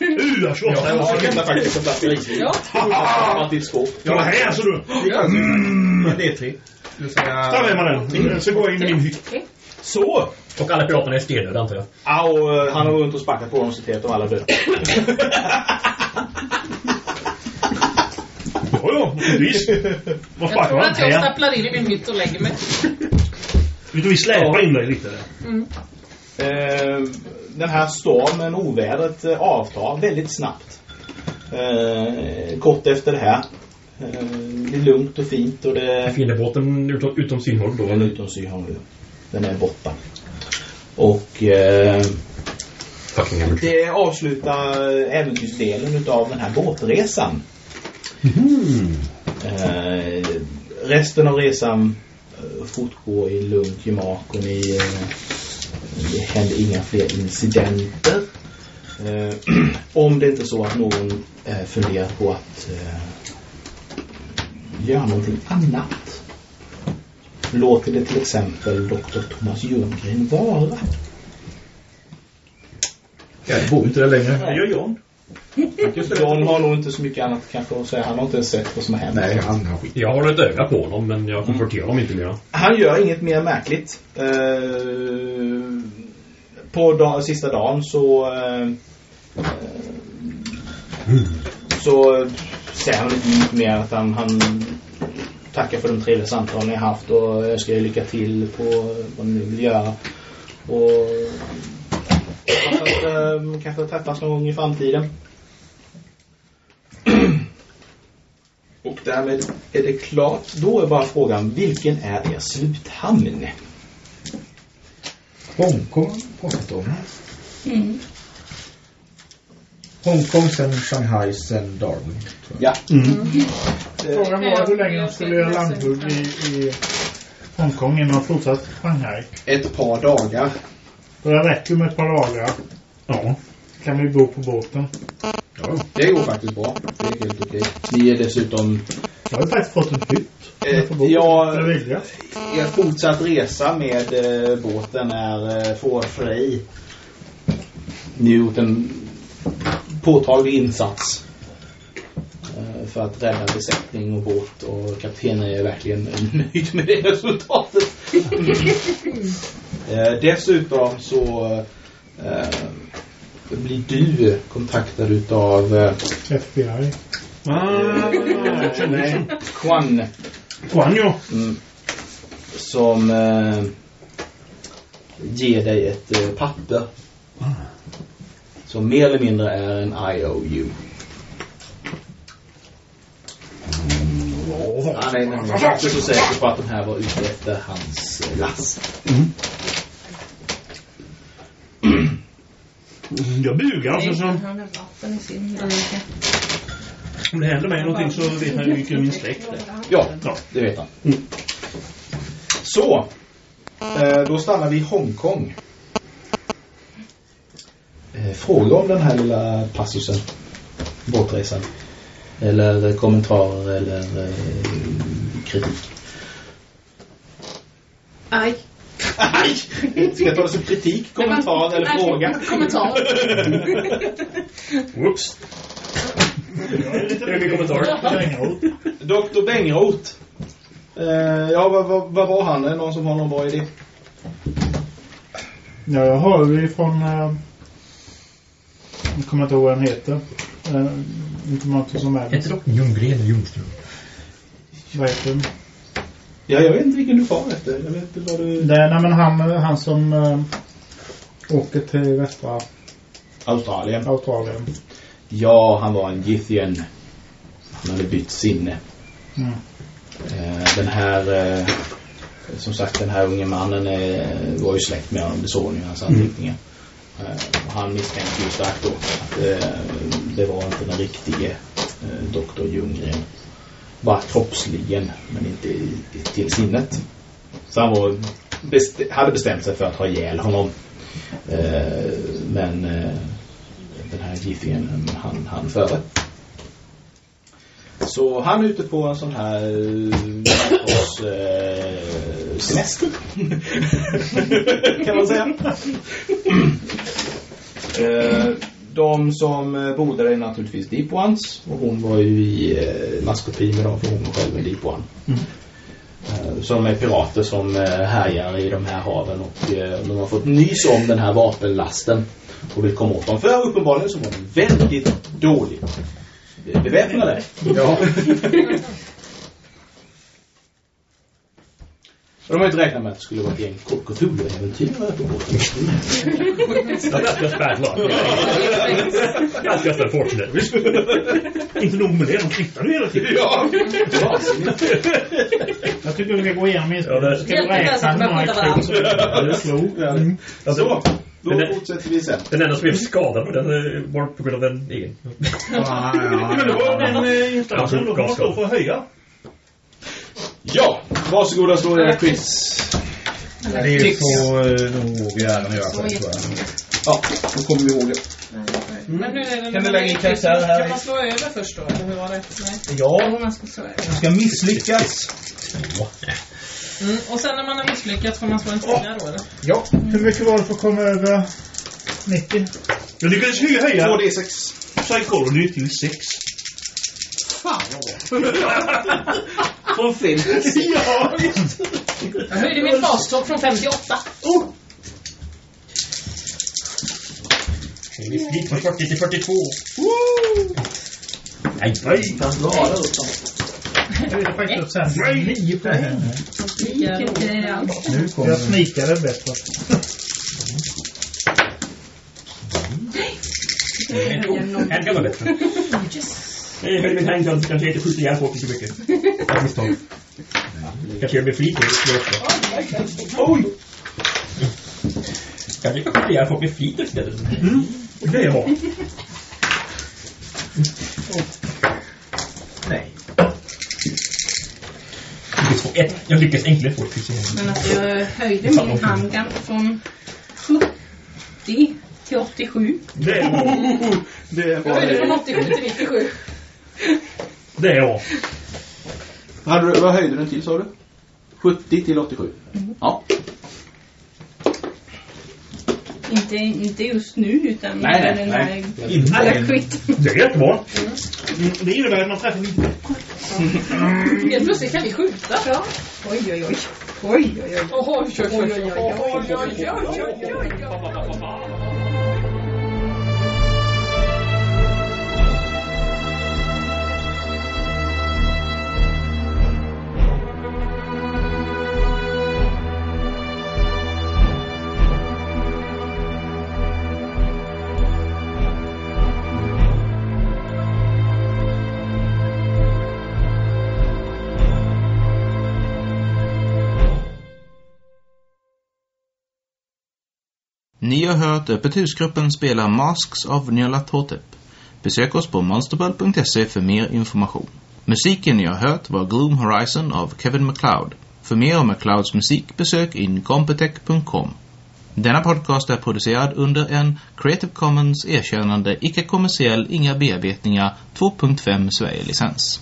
Uh, jag slår
Ja,
ja.
jag hittar faktiskt en flaska risvin.
Ja.
Ja. Ditt skåp.
Ja, här så du.
En D3. Du säger...
Där är man den. Så går jag in i min hytt.
Så!
Mm. Och alla piraterna är stendöda antar jag.
Au, eh, han har runt och sparkat på dem och sett till att de alla dör.
Ja, ja, naturligtvis. Vad
Jag
sparkar
tror
man
att jag
här?
stapplar in i min hytt och lägger mig.
Vet du, vi släpar in dig lite där.
Eh, den här stormen, ovädret eh, avtar väldigt snabbt. Eh, kort efter det här. Eh, det är lugnt och fint och det...
Fiendebåten utom, utom synhåll då.
Den är
Eller?
utom syhan nu. Den är borta. Och eh,
Fucking hell.
det avslutar eh, äventyrsdelen utav den här båtresan. Eh, resten av resan eh, fortgår i lugnt gemak och ni, eh, det händer inga fler incidenter. Eh, [clears throat] om det inte är så att någon eh, funderar på att eh, göra någonting annat. Låter det till exempel Dr. Thomas Ljunggren vara?
Ja, det bor ju inte där längre.
Det gör John.
John har nog inte så mycket annat kanske att säga. Han har inte ens sett vad som har hänt.
Nej, han har skit.
Jag har ett öga på honom men jag konfronterar honom inte mer.
Han gör inget mer märkligt. Eh, på da- sista dagen så... Eh, eh, så säger han lite mycket mer att han, han tackar för de trevliga samtal ni har haft och önskar er lycka till på vad ni nu vill göra. Och hoppas att eh, kanske träffas någon gång i framtiden. [clears throat] Och därmed är det klart. Då är bara frågan, vilken är er sluthamn?
Hongkong har vi pratat om.
Mm.
Hongkong, sen Shanghai, sen Darwin.
Ja.
Mm. Frågan var hur länge de skulle göra landhugg i, i Hongkong innan de fortsatte Shanghai.
Ett par dagar.
Och det räcker med ett par dagar. Ja. Kan vi bo på båten.
Det går faktiskt bra. Det är helt okej. Ni är dessutom...
Jag har ju faktiskt fått en hytt.
Eh,
på båten.
ja.
Eller vilja.
Er fortsatt resa med eh, båten är eh, får Frey. Ni har gjort en påtaglig insats. eh, För att rädda besättning och båt och kaptenen är verkligen nöjd med det resultatet. Eh, Dessutom så eh, blir du kontaktad utav eh,
FBI. Ah.
Quan
Juanjo.
Mm. Som eh, ger dig ett eh, papper. Som mer eller mindre är en IOU. Han är inte så säker på att de här var ute efter hans eh, last.
Jag bugar.
alltså.
Sen så,
Han har vatten i sin jacka.
om det händer mig någonting så vet han ju vilken min släkt är.
Ja, det vet han. Så. Eh, då stannar vi i Hongkong. Eh, fråga om den här lilla passusen. Båtresan. Eller eh, kommentarer eller eh, kritik.
Aj.
Aj! Ska jag ta det som kritik, kommentar eller
Nej,
fråga?
Kommentar.
Whoops.
Det är min kommentar.
Dr. Bengroth. Eh, ja, vad, vad, vad var han? Är det någon som har någon bra idé?
Ja, jag har ju från... Eh, jag kommer inte ihåg vad han heter. Eh, inte Martin som är
Heter doktorn Ljunggren eller Ljungström?
Vad heter han?
Ja, jag vet inte vilken du far efter. Jag vet inte vad du...
Nej, nej, men han, han som eh, åker till västra
Australien.
Australien.
Ja, han var en Githien. Han hade bytt sinne.
Mm.
Eh, Den här eh, Som sagt den här unge mannen eh, Var ju släkt med honom, det såg ni i hans anteckningar Eh, och Han misstänkte ju starkt då Att eh, det var inte den riktige eh, Doktor Ljunggren Bara kroppsligen Men inte i, i, till sinnet Så han var best, Hade bestämt sig för att ha ihjäl honom eh, Men eh, Den här Giffien Han, han före så han är ute på en sån här eh, oss, eh, semester. kan man säga. eh, de som eh, bor där är naturligtvis Deep Ones. Och hon var ju i eh, maskopi med dem för hon var själv en Deep One.
Mm.
Eh, Så de är pirater som eh, härjar i de här haven och eh, de har fått nys om den här vapenlasten och vill komma åt dem. För uppenbarligen så var de väldigt dåligt eh, beväpnade.
Ja.
Och de har inte räknat med att det skulle vara ett gäng Cthulhu-äventyrare på båten.
That's just bad luck. That's just unfortunate.
Inte nog med det, de flyttar ju hela tiden.
Ja,
Jag tycker vi ska gå igenom
Ja, det-
inspelningen. Ska vi räkna
Hjälp,
hur många
jag ska
kronor
skjuta
som är
Ja.
Mm.
Så, då
Men det-
fortsätter vi sen.
Den enda som blev skadad på den eh, var på grund av den egen.
Men det var den eh, instansen då kan man stå för att höja.
Ja, varsågoda slå era quiz.
Det är ju på eh, nog gärna göra
Så
själv tror jag.
Ja, då kommer vi ihåg det.
Men nu är det...
Kan du lägga in karaktär här?
Kan man slå över först då? Eller hur var det? Nej.
Ja,
Om man ska slå över.
ska misslyckas.
Mm. Och sen när man har misslyckats får man slå en tia då eller?
Hur mycket var det för att komma över 90?
Jag lyckades höja, höja
2D6.
psychology till 6.
[laughs]
Från film.
Ja,
Jag höjde min bastopp från 58.
Vi gick från 40 till 42. Nej, nej.
Fast då har det upp dem.
Jag vet faktiskt upp sen. Nio poäng.
Ja, då.
Nu kommer
Jag snikade bättre.
En kan vara bättre. Jag höjde min handgun så kanske jag inte skjuter ihjäl folk så mycket. Av misstag. Kanske jag blir flit och slår också. Oj! Kanske jag skjuter ihjäl folk med flit istället. Mm. Det kan jag ha. Nej. Lyckas få ett. Jag lyckas enklare få ett kryss i handen.
Men att jag höjde min handgun från 70 till 87.
det är jag.
[laughs] Det
Jag
var
höjde
det.
från 87 till 97.
Det är jag.
Hade du, vad höjde den till sa du? 70 till 87. Ja.
Inte, inte just nu utan
Nej, nej,
den
nej.
här alla
Innan.
skit.
Det är jättebra. Mm, Det innebär att man träffar min...
Helt plötsligt kan vi skjuta. Ja.
Oj, oj, oj. Oj, oj, oj.
Oho, oj, oj, oj, oj, oj, oj, oj, oj, oj.
Ni har hört Öppet husgruppen spela Masks av Nyarlathotep. Besök oss på monsterball.se för mer information. Musiken ni har hört var Gloom Horizon av Kevin MacLeod. För mer om MacLeods musik besök incompetech.com. Denna podcast är producerad under en Creative Commons erkännande icke-kommersiell inga bearbetningar 2.5 Sverige-licens.